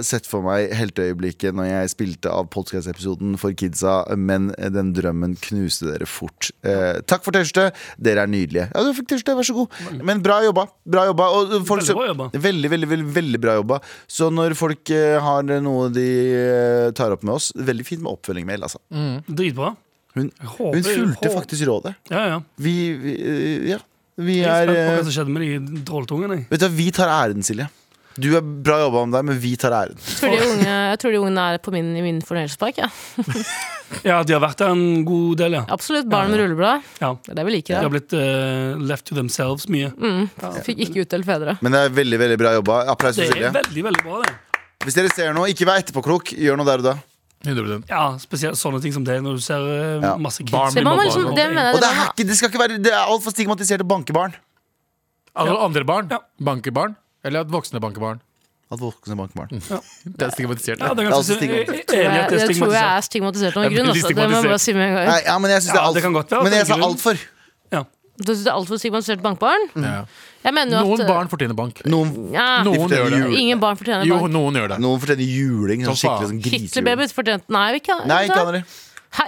sett for meg helteøyeblikket når jeg spilte av podkast-episoden for kidsa, men eh, den drømmen knuste dere fort. Eh, takk for T-skjorte, dere er nydelige. Ja, du fikk T-skjorte, vær så god. Men bra jobba. Bra jobba. Og folk, Veldig bra som- jobba. Veldig, veldig, veldig, veldig bra jobba. Så når folk eh, har noe de eh, tar opp med oss, veldig fint med oppfølgingmail, altså. Dritbra. Hun, Håper- hun fulgte håper- faktisk rådet. Ja, ja. Vi, vi eh, Ja. Vi Jeg er er spent på hva eh, som skjedde med de drolletungene. jeg. Vet du, hva, vi tar æren, Silje. Du er bra jobba om deg, men vi tar æren. Jeg tror de unge, jeg tror de unge er på min, i min fornøyelsespark. Ja. Ja, de har vært der en god del, ja. Absolutt. Barn med rulleblad. ja. Det er det vi De liker. har Da. blitt eh, left to themselves mye. Mm. Fikk ikke utdelt fedre. Men det er veldig veldig bra jobba. Applaus Det for er Silje. veldig, veldig bra, det. Hvis dere ser noe, ikke vær etterpåklok. Gjør noe der og da. 100 Ja, Spesielt sånne ting som det, når du ser eh, Ja. masse kids. Barn Det, blir må man mobba. liksom, det mener jeg Og det det må er, man- ikke, det, skal ikke være, det er altfor stigmatisert å banke barn. Altså andre barn? Ja. Banker barn? Eller at voksne banker barn? At voksne banker barn. Det er stigmatisert. Ja, det, er Det er altså ganske, jeg, stigmatisert. jeg er enig i at det er Jeg tror jeg er stigmatisert. stigmatisert av Jeg en er grunn. veldig Altså. Det må jeg bare si med en gang. Nei, ja, men jeg synes Ja, det det kan er godt være alt at Men det er jeg sa grunn. altfor. Ja. Du synes det er altfor stigmatisert bankbarn? Ja. Jeg mener jo Noen at eh, barn fortjener bank. Noen, ja, Noen gjør det. jul- Ingen barn fortjener Jo, barn. noen gjør det. noen fortjener juling. Sånn Som faen. skikkelig sånn grisejuling. Hitlerbabies fortjente Nei, ikke, Nei, ikke han Hæ, heller.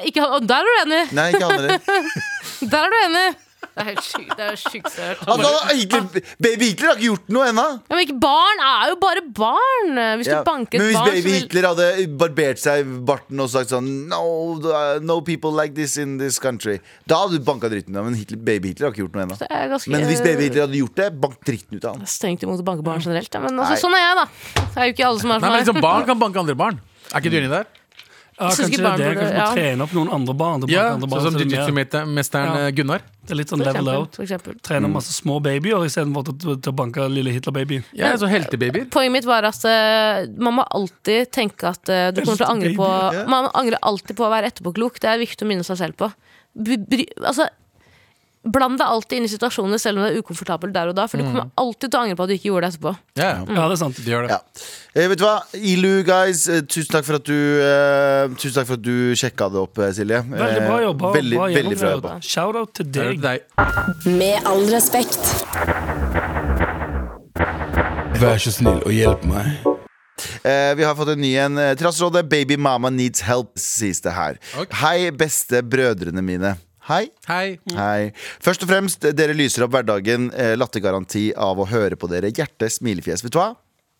ikke han- og Der er du enig! Nei, ikke han heller. Der er du enig! Det er helt sykt. Det er sykt sørt. Altså, Hitler, baby Hitler har ikke gjort noe ennå. Ja, men ikke barn er jo bare barn! Hvis du Ja. banker Men et hvis barn, baby så vil Hitler hadde barbert seg i barten og sagt sånn No, uh, no people like this in this country. Da hadde du banka dritten ut av ham. Men Hitler, baby Hitler har ikke gjort noe ennå. Det er ganske Men hvis baby Hitler hadde gjort det, bank dritten ut av ham. Strengt imot å banke barn generelt. ja, Men altså, Mm. Nei. sånn er jeg, da. Det er jo ikke alle som Nei, er som men meg. liksom Barn kan banke andre barn. Er ikke du enig der? Ja, Jeg synes kanskje ikke det er barn det. burde- Kanskje du må ja. trene opp noen andre barn. til å Ja, banke andre barn, Sånn som så det er mer- jiu-jitsu-mesteren Ja. eh, Gunnar. Det er litt sånn For level eksempel, out. for eksempel. Trener masse små babyer istedenfor til, til å banke lille Hitler-baby. Mm. Ja, så heltebabyer. Poenget mitt var at eh, man må alltid tenke at eh, du kommer til å angre på ja. Man angrer alltid på å være etterpåklok. Det er viktig å minne seg selv på. Bry, bry, altså, Bland deg alltid inn i situasjoner selv om det er ukomfortabelt der og da. For Mm. du kommer alltid til å angre på at du ikke gjorde det etterpå. Ja, ja. Ja, det er sant. De gjør det. Ja. Eh, vet du hva, Ilu, guys, eh, tusen takk for at du eh, Tusen takk for at du sjekka det opp, eh, Silje. Veldig bra Eh, jobba. Veldig, bra veldig bra jobba. gjennomført. Shout-out til Det er deg. deg. Med all respekt. Vær så snill og hjelp meg. Eh, vi har fått en ny en. Eh, Trassrådet Baby Mama Needs Help, sies det her. Ok. Hei, beste brødrene mine. Hei. Hei. Mm. Hei. Først og fremst, dere lyser opp hverdagen. Eh, lattergaranti av å høre på dere. Hjerte, smilefjes. Vet du hva?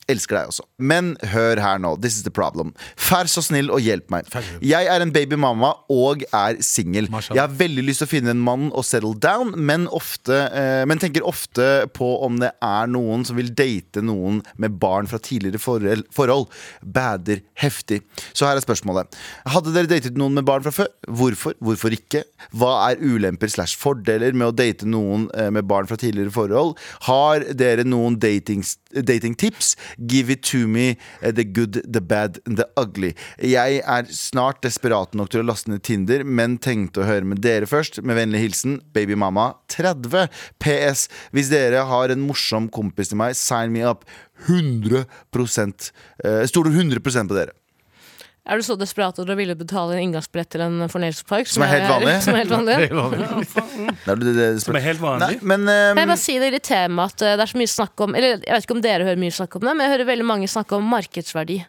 Elsker deg også. Men hør her nå. This is the problem. Vær så snill og hjelp meg. Jeg er en babymamma og er singel. Jeg har veldig lyst til å finne en mann og settle down, men, ofte, eh, men tenker ofte på om det er noen som vil date noen med barn fra tidligere forhold. forhold. Bader heftig. Så her er spørsmålet. Hadde dere datet noen med barn fra før? Hvorfor? Hvorfor ikke? Hva er ulemper slash fordeler med å date noen eh, med barn fra tidligere forhold? Har dere noen datings, datingtips? Give it to me eh, the good, the bad, and the ugly. Jeg er snart desperat nok til å laste ned Tinder, men tenkte å høre med dere først. Med vennlig hilsen babymamma 30. PS. Hvis dere har en morsom kompis til meg, sign me up. 100 eh, Stoler 100 på dere. Er du så desperat at du er villig til å betale en inngangsbrett til en fornøyelsespark? Som er helt vanlig? Som er helt vanlig? Det er det, det, Som er helt Nei, vanlig. men eh, Kan jeg bare si det irriterer meg at eh, det er så mye snakk om Eller jeg vet ikke om dere hører mye snakk om det, men jeg hører veldig mange snakke om markedsverdi.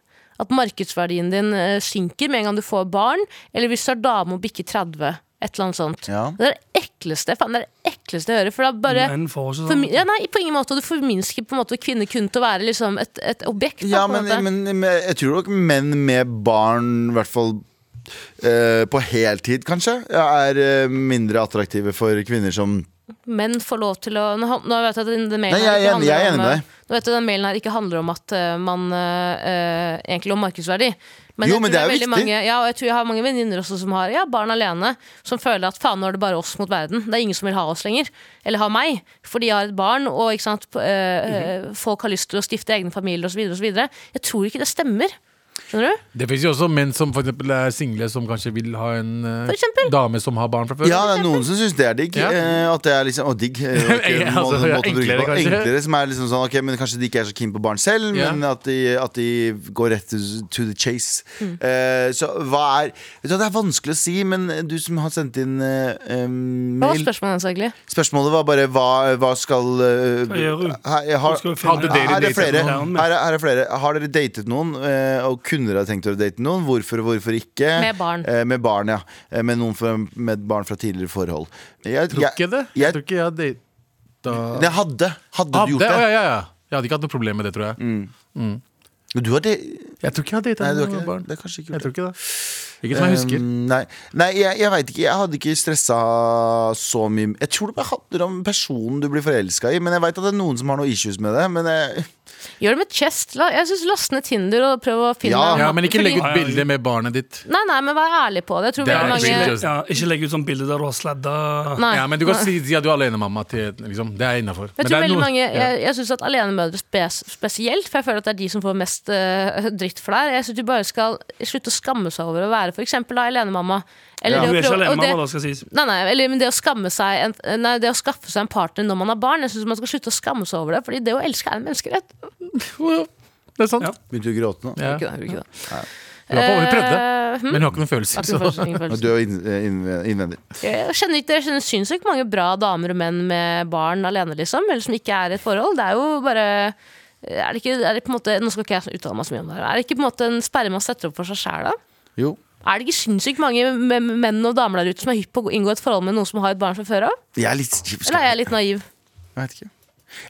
At markedsverdien din eh, synker med en gang du får barn, eller hvis du er dame og bikker 30. Et eller annet sånt. Ja. Det er det ekleste faen, det er det ekleste jeg hører. For det er bare Men får ikke formi- sånn. ja, nei, på ingen måte. Du forminsker på en måte kvinner kun til å være liksom, et, et objekt. da, Ja, på en men, måte. men, men jeg tror nok menn med barn, i hvert fall eh, på heltid, kanskje, er eh, mindre attraktive for kvinner som menn får lov til å Nå, han- nå vet jeg at denne mailen Nei, jeg her er ikke enig- jeg er handler om, enig med eh, deg. Nå vet jeg at denne mailen her ikke handler om at eh, man eh, eh, egentlig om markedsverdi. Men Jo, jeg men tror det er jo veldig viktig. Mange, ja, og jeg tror jeg har mange venninner også som har ja, barn alene, som føler at faen, nå er det bare oss mot verden. Det er ingen som vil ha oss lenger. Eller ha meg. For de har et barn, og ikke sant, p- eh, Mhm. eh, folk har lyst til å stifte egne familier osv. osv. Jeg tror ikke det stemmer. Skjønner du? Det fins jo også menn som for eksempel er single, som kanskje vil ha en eh, For eksempel. dame som har barn fra før. Ja, det er noen som syns det er digg. Ja. eh, At det er liksom, å, digg eh, og ikke Ja, en måte- altså, ja, måte å bruke enklere, på. kanskje. Enklere, som er liksom sånn Ok, men kanskje de ikke er så keen på barn selv, Ja. men at de, at de går rett to, to the chase. Mm. Eh, så hva er Vet du hva, Det er vanskelig å si, men du som har sendt inn eh, eh, Hva var mail spørsmålet hans egentlig? Spørsmålet var bare hva, hva skal eh, Hva gjør du? Her, jeg har, Du skal jo Hadde finne- dere her, er det datet flere, noen? her, er, her er flere. Har dere datet noen, eh, og kunne dere ha tenkt dere å date noen? Hvorfor og hvorfor ikke? Med barn. Eh, Med barn, ja. Eh, Med noen fra, med barn fra tidligere forhold. Jeg, Tror ikke det. Jeg, Jeg, tror ikke jeg hadde data Nei, hadde. Hadde Hadde? du gjort Å, det? ja, ja, ja. Jeg hadde ikke hatt noe problem med det, tror jeg. Du har det? Jeg tror ikke jeg hadde data Nei, du har noen ikke barn. det. er kanskje ikke Jeg gjort det. tror ikke det. Ikke som jeg husker. Um, nei, nei jeg, jeg veit ikke. Jeg hadde ikke stressa så mye. Jeg tror det bare handler om personen du blir forelska i. Men jeg veit at det er noen som har noe issues med det. Men jeg, Gjør det med chest. La, jeg syns last ned Tinder og prøv å finne Ja. Ja, men ikke legg ut Fordi- bilde med barnet ditt. Nei, nei, men vær ærlig på det. Jeg tror Det veldig er mange cringe, Ja, ikke legg ut sånn bilde der du har sladda. Nei. Ja, men du kan si si at du er alenemamma til liksom. Det er innafor. Jeg tror veldig mange, jeg, jeg synes at alenemødre spes, spesielt, for jeg føler at det er de som får mest eh, dritt for det her. Jeg syns du bare skal slutte å skamme seg over å være f.eks. alenemamma. Eller Ja. det Du å er ikke prøve- og alenemamma, det- da, skal sies. Nei, nei, eller, men det å, skamme seg en, nei, det å skaffe seg en partner når man har barn, Jeg synes man skal slutte å skamme seg over det. Fordi det å elske er en menneskerett. Det er sant. Ja. begynte å gråte nå. Ja. Ikke det, ikke det. Hun er på, hun prøvde, Eh, hm? men hun har ikke noen følelser. Har ikke Så. noen følelse, ingen følelse. Du er jo inn- eh, inn- innvendig. Jeg kjenner, ikke, jeg kjenner sinnssykt mange bra damer og menn med barn alene, liksom. Eller som ikke er i et forhold. Det er jo bare er det ikke, er det på en måte, Nå skal ikke jeg uttale meg så mye om det her. Er det ikke på en måte en sperre man setter opp for seg sjæl, da? Jo. Er det ikke sinnssykt mange me- menn og damer der ute som er hypp på å inngå et forhold med noen som har et barn fra før av? Jeg er litt kjip. Eller er jeg litt naiv? Jeg vet ikke.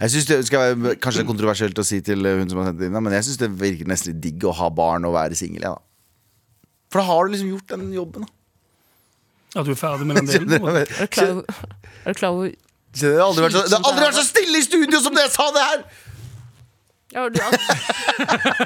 Jeg synes det skal være Kanskje det er kontroversielt å si til eh, hun som har sendt det inn, men jeg syns det virker nesten litt digg å ha barn og være singel. Ja, da. for da har du liksom gjort den jobben. Da. At du er ferdig med den delen. på en måte. Skjønner Er du klar over- er du klar over du? Det har aldri vært så, det har aldri vært så stille i studio som det jeg sa det her! ja, du, altså,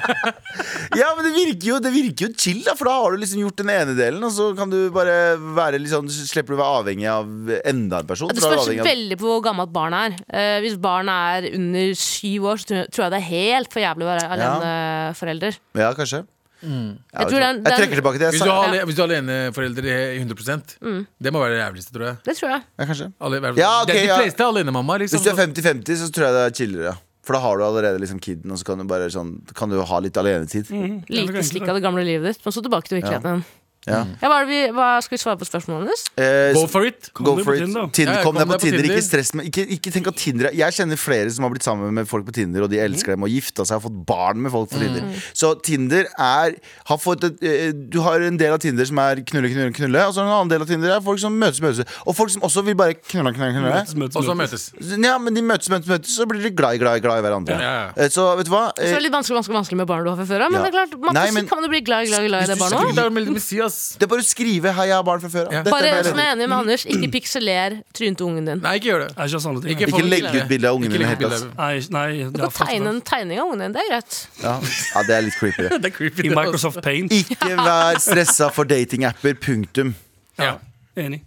Ja, men det virker, jo, det virker jo chill, da, for da har du liksom gjort den ene delen, og så kan du bare være litt sånn Slipper du å være avhengig av enda en person. Det så da er du spørs avhengig av- veldig på hvor gammelt barnet er. Eh, hvis barnet er under syv år, så tror jeg- tror jeg det er helt for jævlig å være aleneforelder. Ja, kanskje. Ja, Mm. Jeg vet du tror hva. den- jeg den- trekker tilbake det jeg Hvis du sa. har, ale- hvis du har aleneforeldre i 100 Mm. det må være det jævligste, tror jeg. Det tror jeg. Ja, kanskje. Alle, Ja, ok, det er de ja. fleste alenemamma. Liksom. Hvis du er 50-50, så tror jeg det er chillere. For da har du allerede liksom kiden, og så kan du bare sånn Kan du ha litt alenetid. Lite slikk av det gamle livet ditt. Men så tilbake til virkeligheten. Ja. Ja, hva, er det vi, hva Skal vi svare på spørsmålet hennes? Eh, Go for it! Go deg for på it. Tinder. Tinder, Ja, ja, kom deg på Tinder. Ikke Tinder. stress med ikke, ikke tenk at Tinder er- Jeg kjenner flere som har blitt sammen med folk på Tinder, og de elsker dem og gifta seg og fått barn med folk på Tinder. Mhm. Så Tinder er har fått et, eh, Du har en del av Tinder som er knulle, knulle, knulle, og så har du en annen del av Tinder er folk som møtes, møtes. Og folk som også vil bare knulle, knulle, knulle. Møtes, møtes, Og så møtes. møtes. Ja, men de møtes, møtes, møtes, så blir de glad, i- glad, i- glad i hverandre. Ja, ja, ja. Eh, Så vet du hva? Så er det Eh, litt vanskelig, vanskelig, vanskelig med barn du har fra før av. Men Ja. det er klart, man Nei, plutselig men- kan du bli glad, glad, glad i Hvis det du barnet skal òg. Det er mellom Messias. Det er bare å skrive 'hei, jeg har barn fra før'. Ja. Dette er bare- Bare som jeg er enig med Anders, ikke pikseler trynet til ungen din. Nei, ikke gjør det. Nei, ikke sånne ting. Ikke folk- legg ut bilde av ungene Ikke legg dine ut bilde helt, av- Nei, ikke- nei, Du det kan er faktisk- tegne en tegning av ungen din. Det er greit. ja. ja, det er litt creepy, det. Det er creepy. I det, altså. Microsoft Paint. Ikke vær stressa for datingapper. Punktum. Ja. Enig.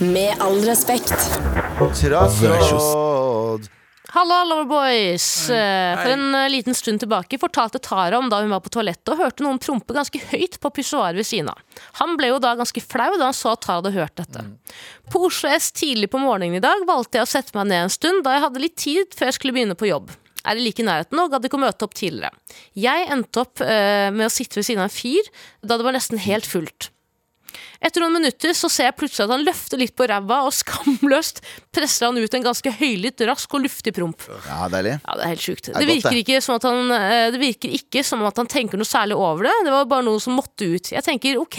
Med all respekt. Trassråd. Halla, Loverboys! Eh, For en eh, liten stund tilbake fortalte Tara om da hun var på toalettet og hørte noen prompe ganske høyt på pissoaret ved siden av. Han ble jo da ganske flau da han så at Tara hadde hørt dette. På Oslo S tidlig på morgenen i dag valgte jeg å sette meg ned en stund da jeg hadde litt tid før jeg skulle begynne på jobb. Er det like i nærheten og gadd ikke å møte opp tidligere. Jeg endte opp eh, med å sitte ved siden av en fyr da det var nesten helt fullt. Etter noen minutter så ser jeg plutselig at han løfter litt på ræva, og skamløst presser han ut en ganske høylytt, rask og luftig promp. Ja, deilig. Ja, det er helt sjukt. Det, er godt, virker det. ikke som at han, eh, det virker ikke som at han tenker noe særlig over det. Det var bare noe som måtte ut. Jeg tenker ok,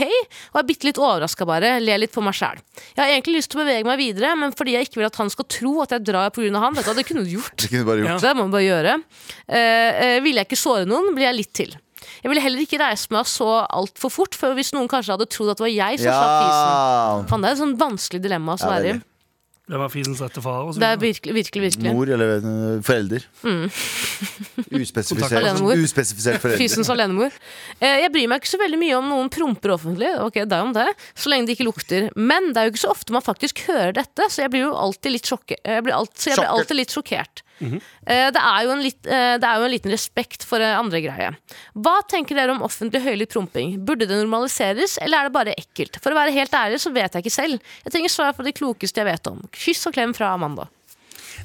og er bitte litt overraska bare. Ler litt for meg sjæl. Jeg har egentlig lyst til å bevege meg videre, men fordi jeg ikke vil at han skal tro at jeg drar pga. han, vet du hva, det kunne du gjort. Det kunne du bare gjort. Så det må man bare gjøre. Eh, eh, ville jeg ikke såre noen, blir jeg litt til. Jeg ville heller ikke reise meg så altfor fort, for hvis noen kanskje hadde trodd at det var jeg som slapp fisen. Ja. Fan, det er et sånn vanskelig dilemma å Ja, være i. veldig. Det var fisens rette far. Og så Det er videre. virkelig, virkelig, virkelig. Mor eller øh, forelder. Mm. Uspesifisert, Alenemor. uspesifisert forelder. Fysens alenemor. Eh, Jeg bryr meg ikke så veldig mye om noen promper offentlig, ok, det er om det, så lenge det ikke lukter. Men det er jo ikke så ofte man faktisk hører dette, så jeg blir jo alltid litt, sjokke, jeg blir alt, så jeg blir Sjokkert. alltid litt sjokkert. Eh, det, er jo en litt, eh, det er jo en liten respekt for eh, andre greie. Hva tenker dere om offentlig høylytt promping? Burde det normaliseres, eller er det bare ekkelt? For å være helt ærlig så vet jeg ikke selv. Jeg trenger svar på det klokeste jeg vet om. Kyss og klem fra Amanda.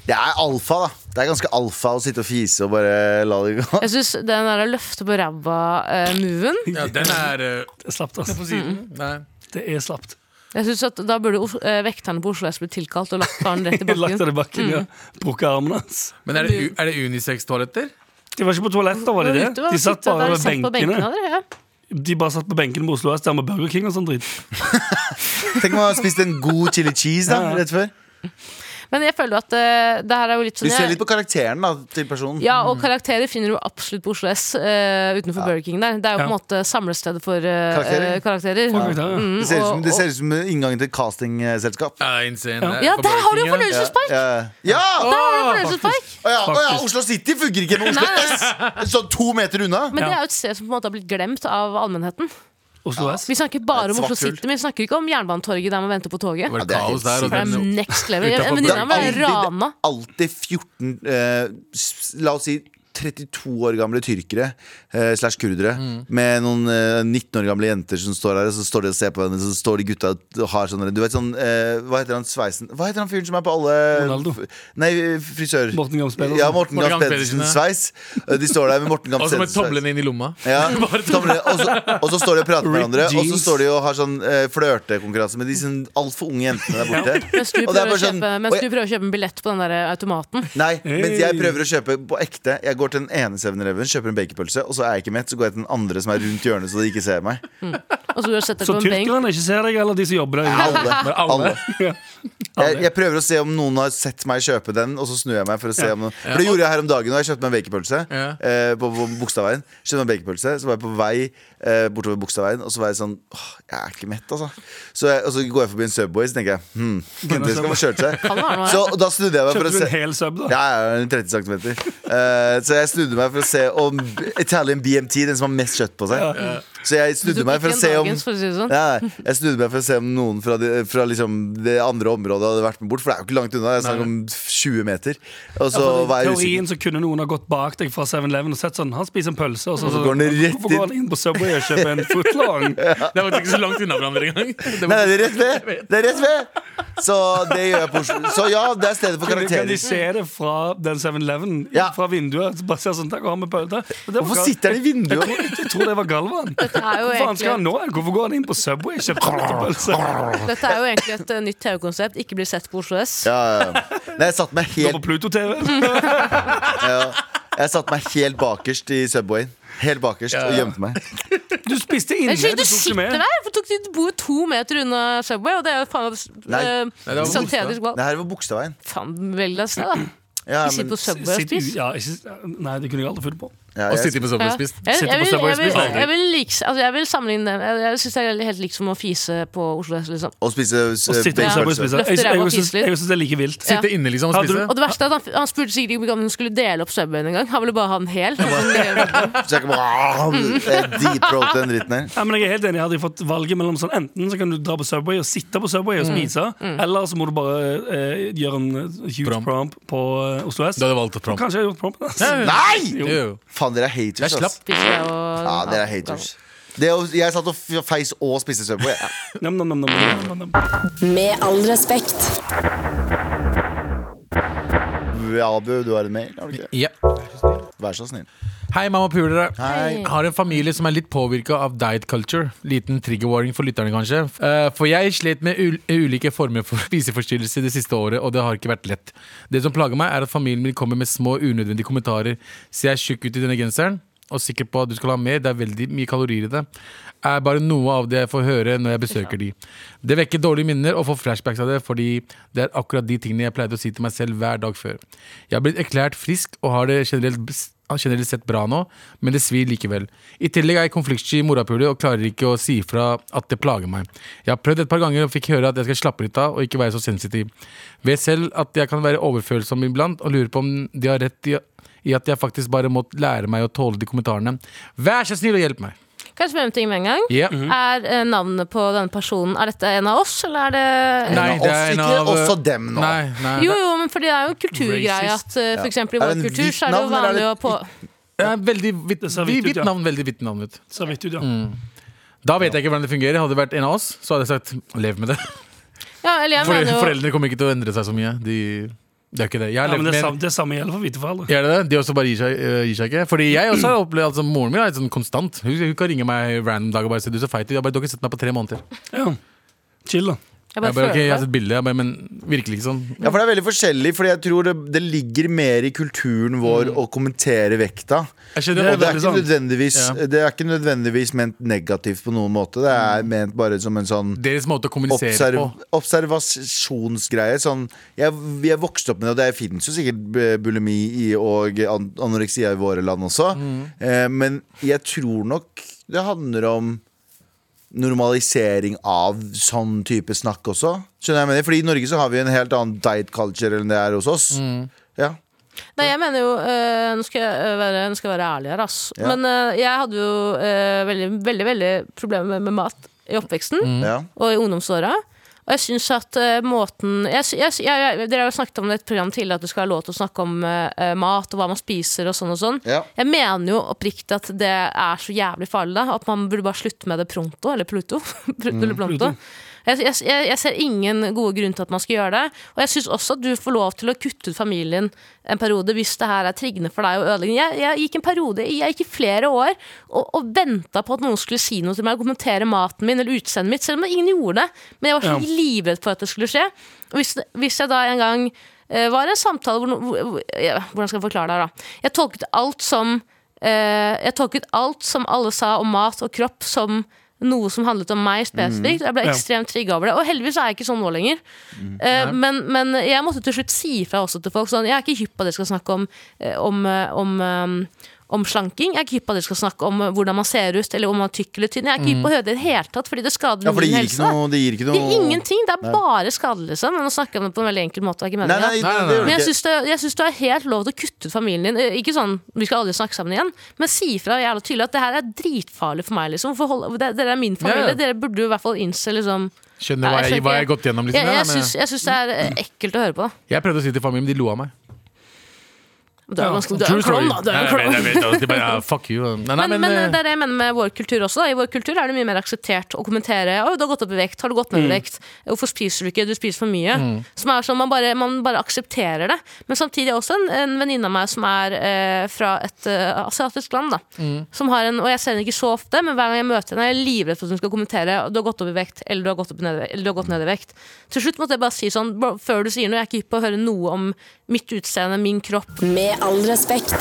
Det er alfa, da. Det er ganske alfa å sitte og fise og bare la det gå. Jeg syns den der løfte på eh, ræva-moven ja, den er eh, Det er slapt, altså. på siden. Nei. Det er slapt. Jeg synes at Da burde Os- eh, vekterne på Oslo S bli tilkalt og lagt faren rett i bakken. Lagt Mm. av i bakken, ja. Brukket armen hans. Men er det, u- er det unisex-toaletter? De var ikke på toaletter, var de det? Ute var- De satt sitter bare der, ved satt på benkene. dere, ja. De bare satt på benkene på Oslo S, der med Burger King og sånn dritt. Tenk om man har spist en god chili cheese da, rett før. Men jeg føler at eh, det her er jo litt Du sånn ser jeg- litt på karakteren da, til personen. Ja, Mm. og karakterer finner du absolutt på Oslo S eh, utenfor Burger King der. Det er jo på en Ja. måte samlestedet for eh, Karakterer. eh, karakterer. Fuck deg, ja. Mm, Det ser ut som, og- det ser ut som inngangen til et castingselskap. Ja, det er insane. Ja. Det er Ja, på der har du Burger jo King, ja. fornøyelsespark! Ja! ja. Der har du Åh, fornøyelsespark! Å ja, å ja, Faktisk. Oslo City fungerer ikke med Nei, nei, Oslo S! Sånn to meter unna. Men det er jo et sted som på en måte har blitt glemt av allmennheten. Oslo S. Vi snakker bare Et om svart Oslo hull. City, men vi snakker ikke om Jernbanetorget der man venter på toget. Det var Ja, det er kaos helt der. Og For det er den, next level. Utenfor En venninne av meg Burger King. rana. alltid 14 eh, s- La oss si 32 år gamle tyrkere eh, slash kurdere med noen eh, 19 år gamle jenter som står her, og så står de og ser på henne, så står de gutta og har sånne Du vet sånn eh, Hva heter han sveisen Hva heter han fyren som er på alle Ronaldo. Nei, frisør. Morten Gams Pedersen. Ja, Morten Morten Gams Gams Pedersen. Pedersen, Sveis. Eh, De står der med Morten Gams Og så med Pedersen. sveis. tomlene inn i lomma. Ja, tomlene, og, så, og så står de og prater med Ripped hverandre, og så jeans. står de og har sånn eh, flørtekonkurranse med de sånn altfor unge jentene der borte. Mens du Og det er prøver, å bare sånn- kjøpe, og mens du jeg- prøver å kjøpe en billett på den der eh, automaten. Nei, mens jeg prøver å kjøpe på ekte. Jeg går til den ene 7-Eleven, kjøper en bakerpølse, og så er jeg ikke mett, så går jeg til den andre som er rundt hjørnet, så de ikke ser meg. Og så setter du Så på en benk. tyrkerne ikke ser deg, eller de som jobber der? Alle. Bare Alle. Ja. Jeg, jeg prøver å se om noen har sett meg kjøpe den, og så snur jeg meg for å se om noen For det gjorde jeg her om dagen, og jeg kjøpte meg en bakerpølse Ja. eh, på, på Bogstadveien. Kjøpte meg en bakerpølse, så var jeg på vei eh, bortover Bogstadveien, og så var jeg sånn Åh, jeg er ikke mett, altså. Så jeg, og så går jeg forbi en Subway, så tenker jeg hm, det skal man kjøre Kan være seg. noe her. Så og da snudde jeg meg for Kjøpte å du en se hel sub, da? Ja, ja, en 30 cm. så jeg snudde meg for å se om B- Italian BMT, den som har mest kjøtt på seg. Så jeg Du snudde tok meg for å ikke en se om dagens, for å si det sånn. Nei, nei, jeg snudde meg for å se om noen fra det, fra liksom det andre området hadde vært med bort. For det er jo ikke langt unna. Jeg snakker om 20 meter. Og så var jeg usikker. Teorien så kunne noen ha gått bak deg fra 7-Eleven og sett sånn Han spiser en pølse, og så, Og så går han rett Hvorfor går han inn på Subway og kjøper en footlong? Det var ikke så langt unna hverandre engang. Nei, Det var- nei, det er rett ved! Det er rett ved! Så det gjør jeg på Oslo. Så ja, det er stedet for Kan, de- kan de karakterer. se det fra den 7-Eleven? Ja. Fra vinduet? Så bare ser sånn, der går han med pølse. Og det var Hvorfor Gal- sitter han i vinduet? Jeg tror det var Galvan. er jo Hva faen skal egentlig- han nå? Hvorfor går han inn på Subway og kjøper en pølse? Dette er jo egentlig et eh, nytt TV-konsept. Ikke bli sett på Oslo S. Ja, ja, ja. Nei, jeg satt meg Går helt på Pluto-TV? Jeg satt meg helt bakerst i Subwayen. Helt bakerst og gjemte meg. Du spiste inne, Jeg skjønner, du du tok ikke sitter med. der! Hvorfor tok du- Du bor jo to meter unna Subway, og det er jo faen Nei. Nei, det meg var Sankthanus Det her var Bogstadveien. Faen, velg deg et sted, da. Ja, Ikke sitt men på Subway og Sitt- spis. ja, ikke- Nei, det kunne jeg aldri funnet på. ja, Og jeg- sitte på sofaen Ja. og Jeg, spist. jeg, Sitte på vil- Subway og jeg, vil- spise aldri. jeg, vil like- altså, jeg vil sammenligne dem. Jeg, jeg syns det er helt likt som å fise på Oslo S. Liksom. Og spise Å eh, sitte på Ja. Subway og bakerpølse. spise. Jeg- jeg- ræva og Jeg syns fise litt. jeg syns det er like vilt. Sitte inne liksom og Hadde du- spise. Og det verste er at han, han spurte sikkert ikke om han skulle dele opp Subwayen engang. Han ville bare ha den hel. Han Så jeg kan bare Jeg deep-rote den dritten her. Ja, men jeg er helt enig, Hadde jeg fått valget mellom sånn Enten så kan du dra på Subway og sitte på Subway og spise, eller så må du bare eh, gjøre en eh, huge Promp. promp, på eh, Oslo S. Du hadde valgt Trump. Kanskje jeg har gjort prompen. ass. Nei! Jo, jo. Faen, dere er haters. Jeg slapp. ass. spiser det, Ja, og- dere er haters. Det, å- jeg satt og f- feis og spiste Subway. Ja. Nam, nam, nam, nam, nam, nam, nam. Med all respekt. Abu, du har en mail? Har du ikke? det? Ja. Vær så snill. Hei, mamma pulere. Hei. Har en familie som er litt påvirka av diet culture. Liten trigger warning for lytterne, kanskje. Eh, For jeg slet med ul ulike former for spiseforstyrrelser det siste året, og det har ikke vært lett. Det som plager meg, er at familien min kommer med små, unødvendige kommentarer. Ser jeg tjukk ut i denne genseren? Og sikker på at du skal ha mer, det er veldig mye kalorier i det. Er bare noe av det jeg får høre når jeg besøker de. Det vekker dårlige minner og får flashbacks av det, fordi det er akkurat de tingene jeg pleide å si til meg selv hver dag før. Jeg har blitt erklært frisk og har det generelt han generelt sett bra nå, men det svir likevel. I tillegg er jeg konfliktsky morapuler og klarer ikke å si ifra at det plager meg. Jeg har prøvd et par ganger og fikk høre at jeg skal slappe litt av og ikke være så sensitiv. Vet selv at jeg kan være overfølsom iblant og lurer på om de har rett i, i at jeg faktisk bare må lære meg å tåle de kommentarene. Vær så snill og hjelp meg! Kan jeg spørre om en ting med en gang? Ja. Er eh, navnet på denne personen Er dette en av oss, eller er det Nei, det er en Ikke av også dem nå. Nei, nei. Jo, jo, men fordi det er jo en kulturgreie Racist. at eh, for eksempel Er i vår det en kultur hvitt så er det jo navn, eller er vanlig det å på Det er veldig hvitt Det ser hvitt ut, hvitt ja. navn. Veldig hvitt navn ut. Ser vidt ut, ja. Da vet jeg ikke hvordan det fungerer. Hadde det vært en av oss, så hadde jeg sagt lev med det. Ja, eller jeg For, mener jo foreldrene kommer ikke til å endre seg så mye. De, det er ikke det. Jeg har ja levd men det, med- er samme, det er samme gjelder for hvite foreldre. Gjør det det? De også bare gir seg, øh, gir seg ikke? Fordi jeg også har opplevd altså, Moren min er litt sånn konstant. Hun, hun kan ringe meg random dag og bare si du er så feit ut. Jeg bare, du har ikke sett meg på tre måneder. Ja. Chill, da. Jeg Jeg bare bare, ok, jeg har føler det. sett bildet, jeg bare, men virkelig ikke sånn. Ja, for Det er veldig forskjellig, Fordi jeg tror det, det ligger mer i kulturen vår å kommentere vekta. Jeg skjønner, Og det er veldig ikke sånn. nødvendigvis Ja. Det er ikke nødvendigvis ment negativt på noen måte. Det er ment bare som en sånn Deres måte å kommunisere Observ på. observasjonsgreie. Sånn, jeg, jeg vokste opp med det, og det finnes jo sikkert bu- bulimi i, og an anoreksia i våre land også. Mm. Eh, men jeg tror nok det handler om normalisering av sånn type snakk også. Skjønner jeg hva jeg mener? Fordi i Norge så har vi en helt annen diet culture enn det er hos oss. Mm. Ja. Nei, jeg mener jo eh, nå, skal jeg, eh, være, nå skal jeg være ærlig her, ass. Ja. Men eh, jeg hadde jo Mm. eh, veldig, veldig, veldig problemer med, med mat i oppveksten Ja. og i ungdomsåra. Og jeg syns at eh, måten jeg, sy- jeg, sy- jeg, jeg, Dere har jo snakket om det i et program tidligere at du skal ha lov til å snakke om eh, eh, mat og hva man spiser og sånn og sånn. Ja. Jeg mener jo oppriktig at det er så jævlig farlig da, at man burde bare slutte med det pronto, eller pluto. Pr- eller pronto. Jeg, jeg, jeg jeg ser ingen gode grunn til at man skal gjøre det. Og jeg syns også at du får lov til å kutte ut familien en periode hvis det her er triggende for deg og ødeleggende. Jeg, jeg gikk en periode, jeg gikk i flere år og, og venta på at noen skulle si noe til meg og kommentere maten min eller utseendet mitt, selv om ingen gjorde det. Men jeg var så Ja. livredd for at det skulle skje. Og hvis, hvis jeg da en gang eh, var i en samtale hvor, no- hvor, hvor, ja, Hvordan skal jeg forklare det her, da? Jeg tolket alt som eh, Jeg tolket alt som alle sa om mat og kropp, som noe som handlet om meg spesifikt. Mhm. Jeg ble Ja. ekstremt trigga over det. Og heldigvis er jeg ikke sånn nå lenger. Eh, men, men jeg måtte til slutt si ifra også til folk sånn Jeg er ikke hypp på at dere skal snakke om, eh, om, eh, om, eh, om slanking. Jeg er ikke hypp på at dere skal snakke om eh, hvordan man ser ut, eller om man er tykk eller tynn. Jeg er ikke hypp på å høre det i det hele tatt, fordi det skader Mhm. Ja, for det min gir helse. ikke da. noe Det gir ikke Det noe er ingenting. Det er Nei. bare skadelig, liksom. Men å snakke om det på en veldig enkel måte er ikke Nei, nei, det, meningen. Nei, nei, det gjør Men det jeg ikke. syns det, jeg synes det er helt lov til å kutte ut familien din. Eh, Ikke sånn vi skal aldri snakke sammen igjen, men si fra jævla tydelig at det her er dritfarlig for meg. Liksom. For hold, det, dere er min familie. Ja, ja. Dere burde jo i hvert fall innse liksom Skjønner hva Nei, jeg, jeg skjønner hva jeg ikke. har gått gjennom. Jeg, Liksom. jeg, Ja, men- syns, jeg syns det er eh, ekkelt å høre på. Da. jeg prøvde å si det til familien, de lo av meg. Du er, Ja, ganske, du er en klovn, da. Du er en Nei, jeg klovn. vet, jeg vet, de bare, ja, fuck you. Nei, nei, Men, men, men eh, eh, det er det jeg mener med vår kultur også. Da. I vår kultur er det mye mer akseptert å kommentere Å, du har gått opp i vekt, har du gått ned Mm. i vekt, hvorfor spiser du ikke, du spiser for mye. Som er sånn, man bare, man bare aksepterer det. Men samtidig er også en, en venninne av meg som er eh, fra et eh, asiatisk land, da. Mm. Som har en, og jeg ser henne ikke så ofte, men hver gang jeg møter henne, er jeg livredd for at hun skal kommentere du har gått opp i vekt, eller du har gått, opp ned, eller, du har gått ned i vekt. Til slutt måtte jeg bare si sånn, bro, før du sier noe, jeg er ikke hypp på å høre noe om mitt utseende, min kropp, Med all respekt.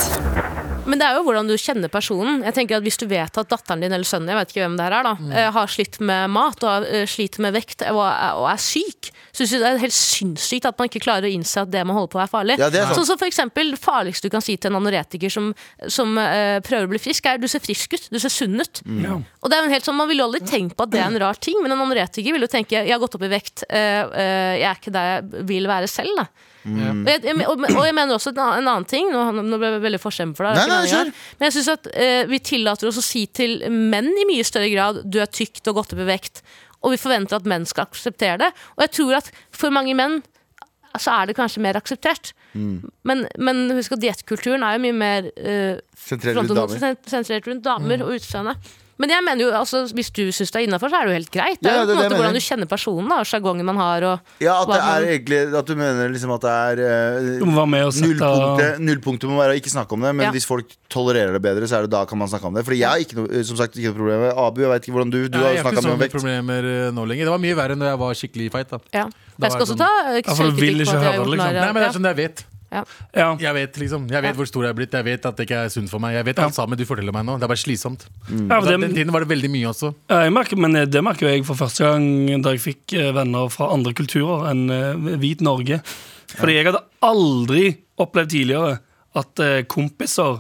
men det er jo hvordan du kjenner personen. Jeg tenker at Hvis du vet at datteren din eller sønnen din jeg vet ikke hvem det her er da, Mm. eh, har slitt med mat og har, eh, sliter med vekt og er, og er syk, syns jeg det er helt sinnssykt at man ikke klarer å innse at det man holder på, er farlig. Ja, det er sant. sånn som for eksempel, Det farligste du kan si til en anoretiker som, som eh, prøver å bli frisk, er du ser frisk ut, du ser sunn ut. Mm. Ja. Og det er jo helt sånn, Man ville jo aldri tenkt på at det er en rar ting, men en anoretiker vil jo tenke jeg har gått opp i vekt, eh, eh, jeg er ikke der jeg vil være selv. da. Mm. Og, jeg, jeg- og, og jeg mener også en annen- en annen ting. Nå, nå ble jeg veldig forstemmelig for deg. det er Nei, ikke nei, meningen. Men jeg synes at eh, vi tillater oss å si til menn i mye større grad du er tykk, du har gått opp i vekt. Og vi forventer at menn skal akseptere det. Og jeg tror at for mange menn så er det kanskje mer akseptert. Mm. Men, men husk at diettkulturen er jo mye mer eh, Sentrert rundt frontet mot- damer. Mm. sen- sentrert rundt damer og utseende. Men jeg mener jo, altså, hvis du syns det er innafor, så er det jo helt greit. Det er Ja, jo på det er det en måte jeg hvordan mener. du kjenner personen da, og sjargongen man har. Og, Ja, at det Hva er er egentlig At du mener liksom at det er eh, Du må være med og sette Nullpunktet, nullpunktet må være å ikke snakke om det, men Ja. hvis folk tolererer det bedre, så er det da kan man snakke om det. Fordi jeg har ikke noe, eh, som sagt, ikke noe problem med Abu, jeg vet ikke hvordan du Du Nei, har jo jeg har ikke snakka så med mye vekt. problemer eh, nå lenger. Det var mye verre når jeg var skikkelig i fight. Da. ja. Da Jeg er skal det også sånn- ta eh, Ja, for du vil selvkritikk på at jeg ikke har høre det, gjort narr liksom. Nei, av- men det ja. er sånn, jeg vet. Ja. Jeg vet liksom, jeg vet hvor stor jeg er blitt, jeg vet at det ikke er sunt for meg. Jeg vet alt sammen du forteller meg nå. Det er bare slitsomt. Ja, for Den det, tiden var det veldig mye også. Ja, Eh, jeg merker, men det merker jo jeg for første gang da jeg fikk eh, venner fra andre kulturer enn eh, hvit Norge. Fordi jeg hadde aldri opplevd tidligere at eh, kompiser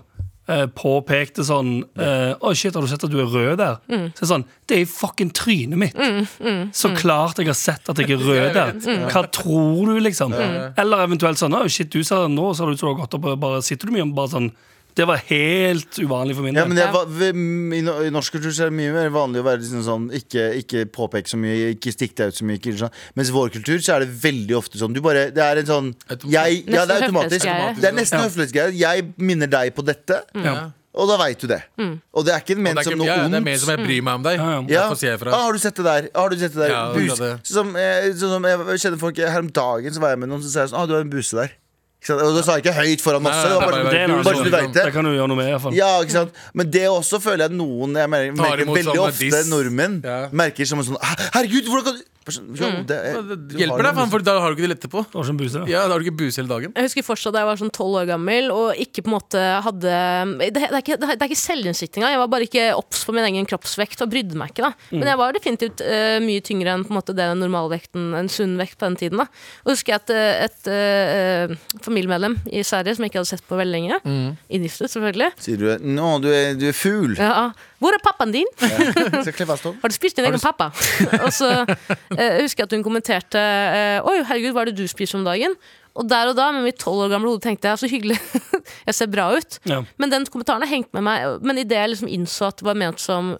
eh, påpekte sånn eh, Å, shit, har du sett at du er rød der? Så jeg sånn, Det er i fucking trynet mitt! Så klart jeg har sett at jeg er rød der. Hva tror du, liksom? Eller eventuelt sånn Å, shit, du ser nå ser det ut som du har gått opp, og bare sitter du mye og bare sånn Det var helt uvanlig for min Ja, del. men jeg, var- ved- I no- i norsk kultur så er det mye mer vanlig å være liksom sånn ikke, ikke påpeke så mye, ikke stikke deg ut så mye. Ikke, sånn. Mens i vår kultur så er det veldig ofte sånn. Du bare, det er en sånn jeg, Ja, det er Nesten automatisk. høflighetsgreie. Det er nesten høflighetsgreie. Jeg minner deg på dette, Ja. og da veit du det. Mm. Og det er ikke Og ment det er, som ikke, noe ja, det er ondt. mer som jeg bryr meg om deg. Ja, ja. Ja. Derfor sier jeg Ah, fra. har du sett det der? Ah, har du sett det der? Ja, det bus. er det. Sånn Som, eh, sånn som jeg, jeg kjenner folk Her om dagen så var jeg med noen som sa sånn ah, du har en buse der. Ikke sant? Og da sa jeg ikke høyt foran masse. Nei, Det var nei, bare, nei, Det er en bare, annen så du sånn- vet det. Det kan du gjøre noe med, iallfall. Ja, ikke sant? Men det også føler jeg noen Jeg merker, Tar merker imot veldig som en ofte diss. nordmenn Ja. Mm. merker som en sånn «Hæ? Herregud, hvordan kan du Bare sånn, jo, det er- du Det har hjelper deg, noe- faen, for da har du ikke det lette på. Det var ikke en buse, da. Ja, da har du ikke buse hele dagen. Jeg husker fortsatt da jeg var sånn tolv år gammel og ikke på en måte hadde Det, det, er, ikke, det er ikke selvinnsikt engang. Jeg var bare ikke obs på min egen kroppsvekt og brydde meg ikke. da Men jeg var definitivt eh, mye tyngre enn på en måte det normalvekten, en sunn vekt på den tiden. da Og husker jeg at eh, et eh, familiemedlem i Sverige som jeg ikke hadde sett på veldig lenge, inngiftet selvfølgelig Sier du Nå, du er, du er fugl. ja, 'Hvor er pappaen din?' Skal klippe av stål. Har du spist din egen pappa? og så eh, husker jeg at hun kommenterte eh, Oi, herregud, hva er det du spiser om dagen? Og der og da, med mitt tolv år gamle hode, tenkte jeg så hyggelig. jeg ser bra ut. Ja. Men den kommentaren har hengt med meg. Men idet jeg liksom innså at det var ment som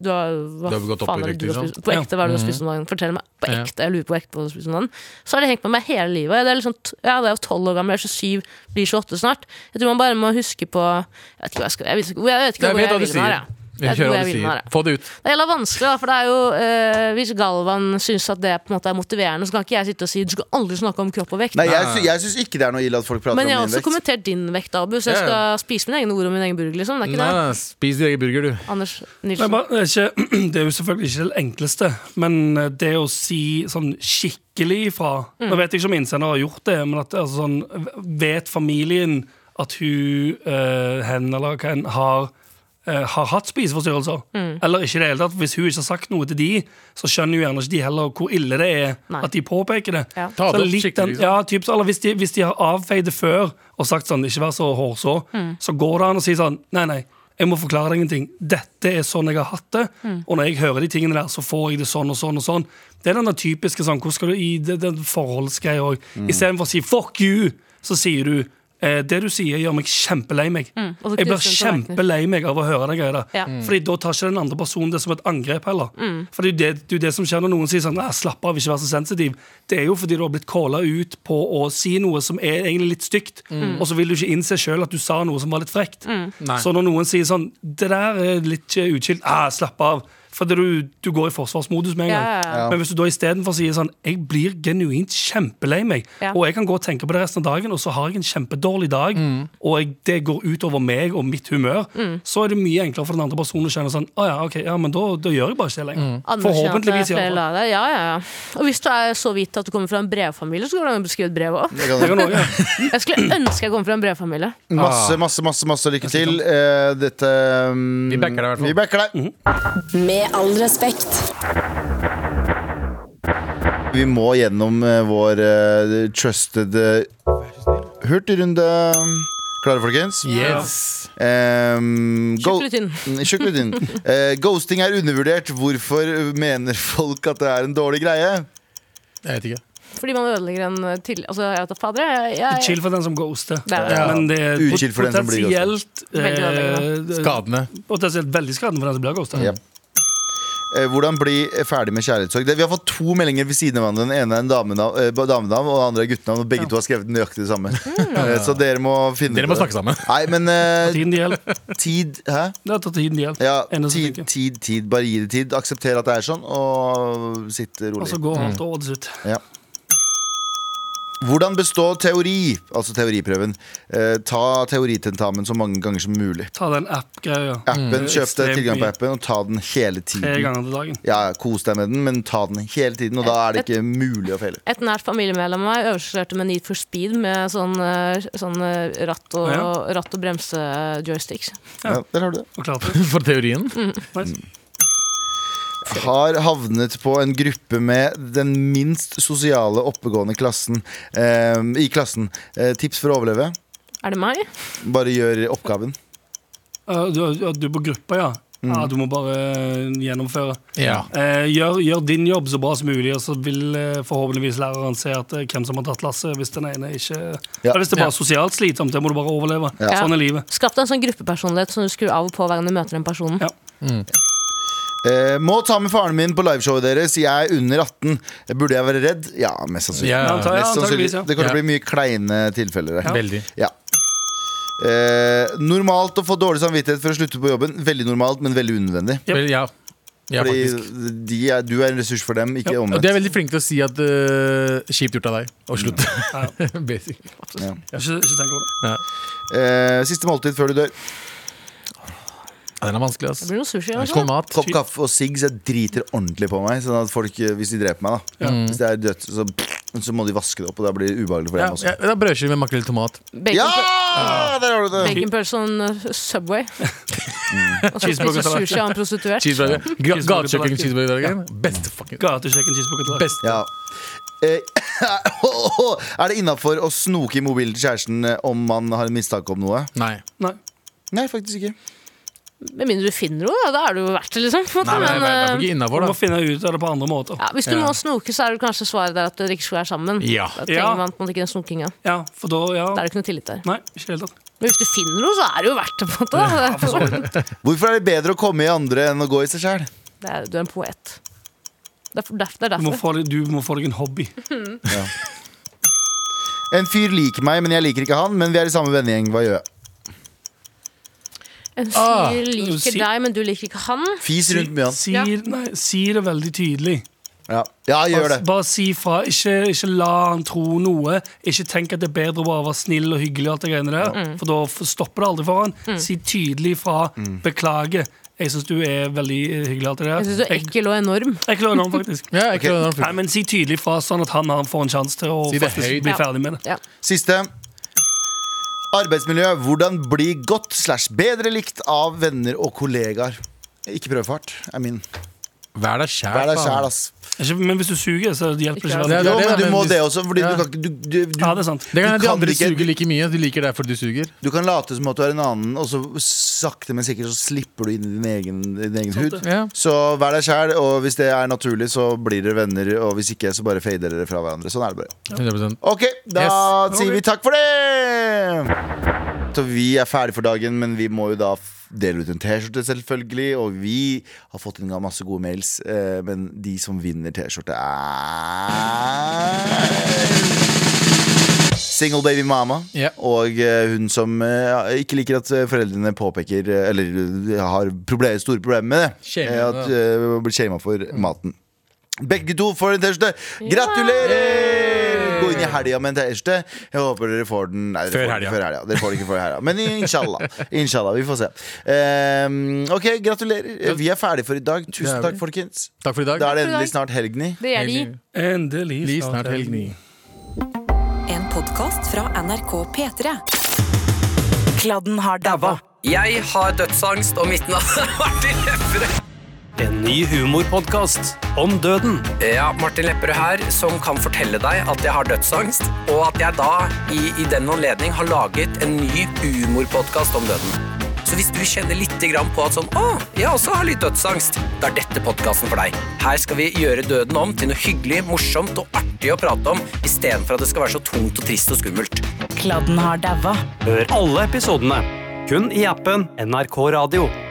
du har, Hva Du har gått opp faen i er det vekt, du har liksom. spist? På ekte, hva er det du har spist om dagen? Fortell meg. på Ja. ekte. Jeg lurer på ekte på å spise noen. Så har det hengt med meg hele livet. Det er liksom, t- ja, det er jo 12 år gammel, jeg er 27, blir 28 snart. Jeg tror man bare må huske på Jeg vet ikke hva jeg skal Jeg vet ikke, jeg vet Jeg ikke hvor vet jeg hva du vil med her, sier. jeg. Jeg Jeg vet kjører hvor hva jeg du vil med sier. det. Få det ut. Det er jævla vanskelig, da, for det er jo eh, Hvis Galvan syns at det på en måte er motiverende, så kan ikke jeg sitte og si du skal aldri snakke om kropp og vekt. Nei, jeg, sy jeg syns ikke det er noe ille at folk prater Men jeg har om min også vekt. kommentert din vekt, Abu, så jeg Ja, skal ja. spise mine egne ord om min egen burger. liksom Det er ikke Nei, nei, spis din egen burger, du. det. Anders Nei, Nilsen. bare, det, er ikke, det er jo selvfølgelig ikke det enkleste, men eh, det å si sånn skikkelig ifra Mm. Nå vet jeg ikke om innsender har gjort det, men at altså, sånn, vet familien at hun, eh, hen eller hva enn, har eh, har hatt spiseforstyrrelser. Mm. Eller ikke i det hele tatt. for Hvis hun ikke har sagt noe til de, så skjønner jo gjerne ikke de heller hvor ille det er Nei. at de påpeker det. Ja. Ta det Så opp litt skikkelig, den- liksom. Ja, typ, så- eller hvis de, hvis de har avfeid det før og sagt sånn 'ikke vær så hårså', Mm. så går det an å si sånn 'nei, nei, jeg må forklare deg ingenting'. Dette er sånn jeg har hatt det, Mm. og når jeg hører de tingene der, så får jeg det sånn og sånn og sånn. Det er den der typiske sånn, hvordan skal du i det- den forholdsgreia òg. Mm. Istedenfor å si 'fuck you', så sier du eh, det du sier, gjør meg kjempelei meg. Mm. og så Jeg krysser blir du en tallerken. kjempelei meg av å høre det greia der. Ja. Mm. Fordi da tar ikke den andre personen det som et angrep heller. For det er jo det, det er jo det som skjer når noen sier sånn, «Nei, slapp av, ikke vær så sensitiv. Det er jo fordi du har blitt calla ut på å si noe som er egentlig litt stygt, Mm. og så vil du ikke innse sjøl at du sa noe som var litt frekt. Nei. Så når noen sier sånn, det der er litt eh, utskilt, ah, slapp av. Fordi du, du går i forsvarsmodus med en Ja, gang. ja, ja. Men hvis du da istedenfor sier sånn Jeg blir genuint kjempelei meg, Ja. og jeg kan gå og tenke på det resten av dagen, og så har jeg en kjempedårlig dag, Mm. og jeg, det går ut over meg og mitt humør, så er det mye enklere for den andre personen å kjenne sånn Å ja, ok, ja, men da, da gjør jeg bare ikke det lenger. Anerkjenne at det er Forhåpentligvis, i flere alle fall. lag der. Ja, ja, ja. Og hvis du er så vidt at du kommer fra en brevfamilie, så går det an å beskrive et brev òg. Jeg kan- Det kan også, ja. Jeg skulle ønske jeg kom fra en brevfamilie. Masse, masse, masse, masse lykke til. Eh, dette um, Vi backer deg i hvert fall. Vi backer deg. Med all respekt. Vi må gjennom eh, vår eh, trusted eh, hurtigrunde. Klare, folkens? Yes. Um, go- Tjukk rutin. Tjukk rutin. Eh, ghosting er undervurdert. Hvorfor mener folk at det er en dårlig greie? Jeg vet ikke. Fordi man ødelegger en eh, til... Altså, jeg vet da fader. jeg- Det jeg- er Chill for den som ghoster. Det er det. Ja. Men det er pot- Utchill for den som blir potensielt Veldig eh, Skadene. Potensielt veldig skadende for den som blir ghosta. Ja. Eh, Hvordan bli ferdig med kjærlighetssorg? Det- Vi har fått to meldinger ved siden av hverandre. Den ene er en damenavn, eh, damenavn og den andre er guttenavn. Og begge to har skrevet nøyaktig det samme. Eh, Så dere må finne Dere må ut av snakke det. sammen. Nei, men eh, Tiden det gjelder. tid Hæ? Det tar tiden det gjelder. Ja, Eneste tid, lykke. tid, tid. Bare gi det tid. Aksepter at det er sånn, og sitt Og rolig. så går alt over til slutt. Ja. Hvordan bestå teori, altså teoriprøven. Eh, ta teoritentamen så mange ganger som mulig. Ta den app-greia. Appen, Kjøp deg Mm. Ekstremt tilgang på mye. appen og ta den hele Tre tiden. ganger til dagen. Ja, Kos deg med den, men ta den hele tiden, og da er det ikke mulig å feile. Et nært familiemedlem av meg øvelseskjørte med Need for Speed med sånn, eh, sånn eh, ratt og, Å, ratt og eh, bremse-joysticks. Ja, der har du det. Og klart det. For teorien. Mm. Nice. Har havnet på en gruppe med den minst sosiale oppegående klassen eh, i klassen. Eh, tips for å overleve? Er det meg? Bare gjør oppgaven. Ja, Eh, du, ja, du er på gruppa, ja. Mm. ja. Du må bare eh, gjennomføre. Ja. Eh, gjør, gjør din jobb så bra som mulig, og så vil eh, forhåpentligvis læreren se at eh, hvem som har tatt lasset, hvis den ene ikke Ja. Eller Hvis det Ja. bare er sosialt slitsomt, det må du bare overleve. Ja. Sånn er livet. Skapt en sånn gruppepersonlighet som du skrur av og på hver gang du møter den personen. Ja. Mm. Eh, må ta med faren min på liveshowet deres. Jeg er under 18. Burde jeg være redd? Ja, mest sannsynlig. Ja, Ja, ta- Mest sannsynlig. antageligvis, ja. Det kommer til å Ja. bli mye kleine tilfeller. her. Veldig. Ja. Eh, normalt å få dårlig samvittighet for å slutte på jobben. Veldig normalt, men veldig unødvendig. Yep. Vel, ja. Ja, faktisk. Fordi de er, du er en ressurs for dem, ikke Ja, Og de omvendt. Mm. er veldig flinke til å si at øh, kjipt gjort av deg, og slutt. Basic. Ikke, ikke tenk over det. Eh, siste måltid før du dør. Ja, den er vanskelig, Det ass. blir noe sushi. eller Skål sånn. mat. Kopp kaffe og sigg, så jeg driter ordentlig på meg. Sånn at folk, eh, Hvis de dreper meg, da. Hvis det er dødt, så, så må de vaske det opp, og da blir det ubehagelig for Ja, dem også. ja, det er brødskive med makrell i tomat. Bacon- Ja! Der har du det! Baconpølse og en uh, Subway. Og så Cheeseburger spiser til sushi av en prostituert. Cheeseburger. Gra- Cheeseburger Gatekjøkken tilbake. cheeseburger. Beste fucking Gatekjøkken, cheeseburger til deg. Best. Ja. Eh, oh, er det innafor å snoke i mobilen til kjæresten eh, om man har en mistanke om noe? Nei. Nei. Nei, faktisk ikke. Med mindre du finner noe, da, da er det jo verdt det, liksom. På en Nei, måte. men eh, jeg vet Men, ikke Du innafor, må da. finne ut av det på andre måter. uh, ja, hvis du Ja. må snoke, så er det kanskje svaret der at dere ikke skal være sammen. Ja. Da Ja. trenger man på en måte ikke den snokinga. Ja, for da ja. Da er det ikke noe tillit der. Nei, ikke i det hele tatt. Men hvis du finner noe, så er det jo verdt det. på en måte da. Hvorfor er det bedre å komme i andre enn å gå i seg sjæl? det er, Du er en poet. Det er for- derf- det er Du må derfor. få deg, du må få deg en hobby. En fyr liker meg, men jeg liker ikke han. Men vi er i samme vennegjeng. Hva gjør jeg? En Ah, fyr liker si- deg, men du liker ikke han. Fis rundt mye han. Sier, nei, si det veldig tydelig. Ja, ja gjør det. Bare, bare si fra. Ikke, ikke la han tro noe. Ikke tenk at det er bedre å bare være snill og hyggelig, og alt det greiene der Mm. for da f- stopper det aldri for han. Si tydelig fra. Mm. Beklager. Jeg syns du er veldig eh, hyggelig. og alt det der Jeg syns du er Jeg, ekkel og enorm. jeg klarer noen, faktisk. Ja, jeg klarer det. Nei, men Si tydelig fra, sånn at han har- får en sjanse til å Si det høyt. faktisk bli Ja. ferdig med det. Ja. Siste. Arbeidsmiljø. Hvordan bli godt slash bedre likt av venner og kollegaer? Ikke prøvefart, er min. Vær deg sjæl. Vær deg sjæl, ass. Ikke, men hvis du suger, så hjelper Ikke det ikke. det. veldig. Jo, det, men du men må hvis- det også, fordi Ja. du kan ikke du, du, du, Ja, det er sant. Det kan Du hende de kan andre ikke- suger like mye. De liker deg fordi du suger. du kan late som at du er en annen, og så sakte, men sikkert så slipper du inn i din egen, din egen hud. Ja. Så vær deg sjæl, og hvis det er naturlig, så blir dere venner. Og hvis ikke, så bare fader dere fra hverandre. Sånn er det bare. 100% Ok, da Yes. sier vi takk for det! Så vi er ferdig for dagen, men vi må jo da f- dele ut en T-skjorte, selvfølgelig. Og vi har fått inn masse gode mails, eh, men de som vinner T-skjorte, er Single baby mama Ja. og eh, hun som eh, ikke liker at eh, foreldrene påpeker eh, Eller eh, har proble- store problemer med det. Shamer, Eh, at, eh, blir shama for maten. Begge to får en T-skjorte. Gratulerer! Gå inn i helga med en T-skjorte. Jeg håper dere får den Nei, dere Før får den helga. Før helga. Dere får den ikke før helga. Men inshallah. inshallah. Vi får se. Ehm, ok, gratulerer. Vi er ferdig for i dag. Det Tusen er takk, vi. folkens. Takk for i dag. Da er det for i dag. endelig snart helg, ni. Det gjør de. Endelig Li snart helg ni. En podkast fra NRK P3. Kladden har dabba. Jeg har dødsangst, og mitt navn er Martin Lepperød. En ny humorpodkast om døden. Ja, Martin Lepperød her, som kan fortelle deg at jeg har dødsangst, og at jeg da, i, i den anledning, har laget en ny humorpodkast om døden. Så hvis du kjenner litt grann på at sånn, å, jeg også har litt dødsangst, da er dette podkasten for deg. Her skal vi gjøre døden om til noe hyggelig, morsomt og artig å prate om, istedenfor at det skal være så tungt og trist og skummelt. Kladden har dabba. Hør alle episodene kun i appen NRK Radio.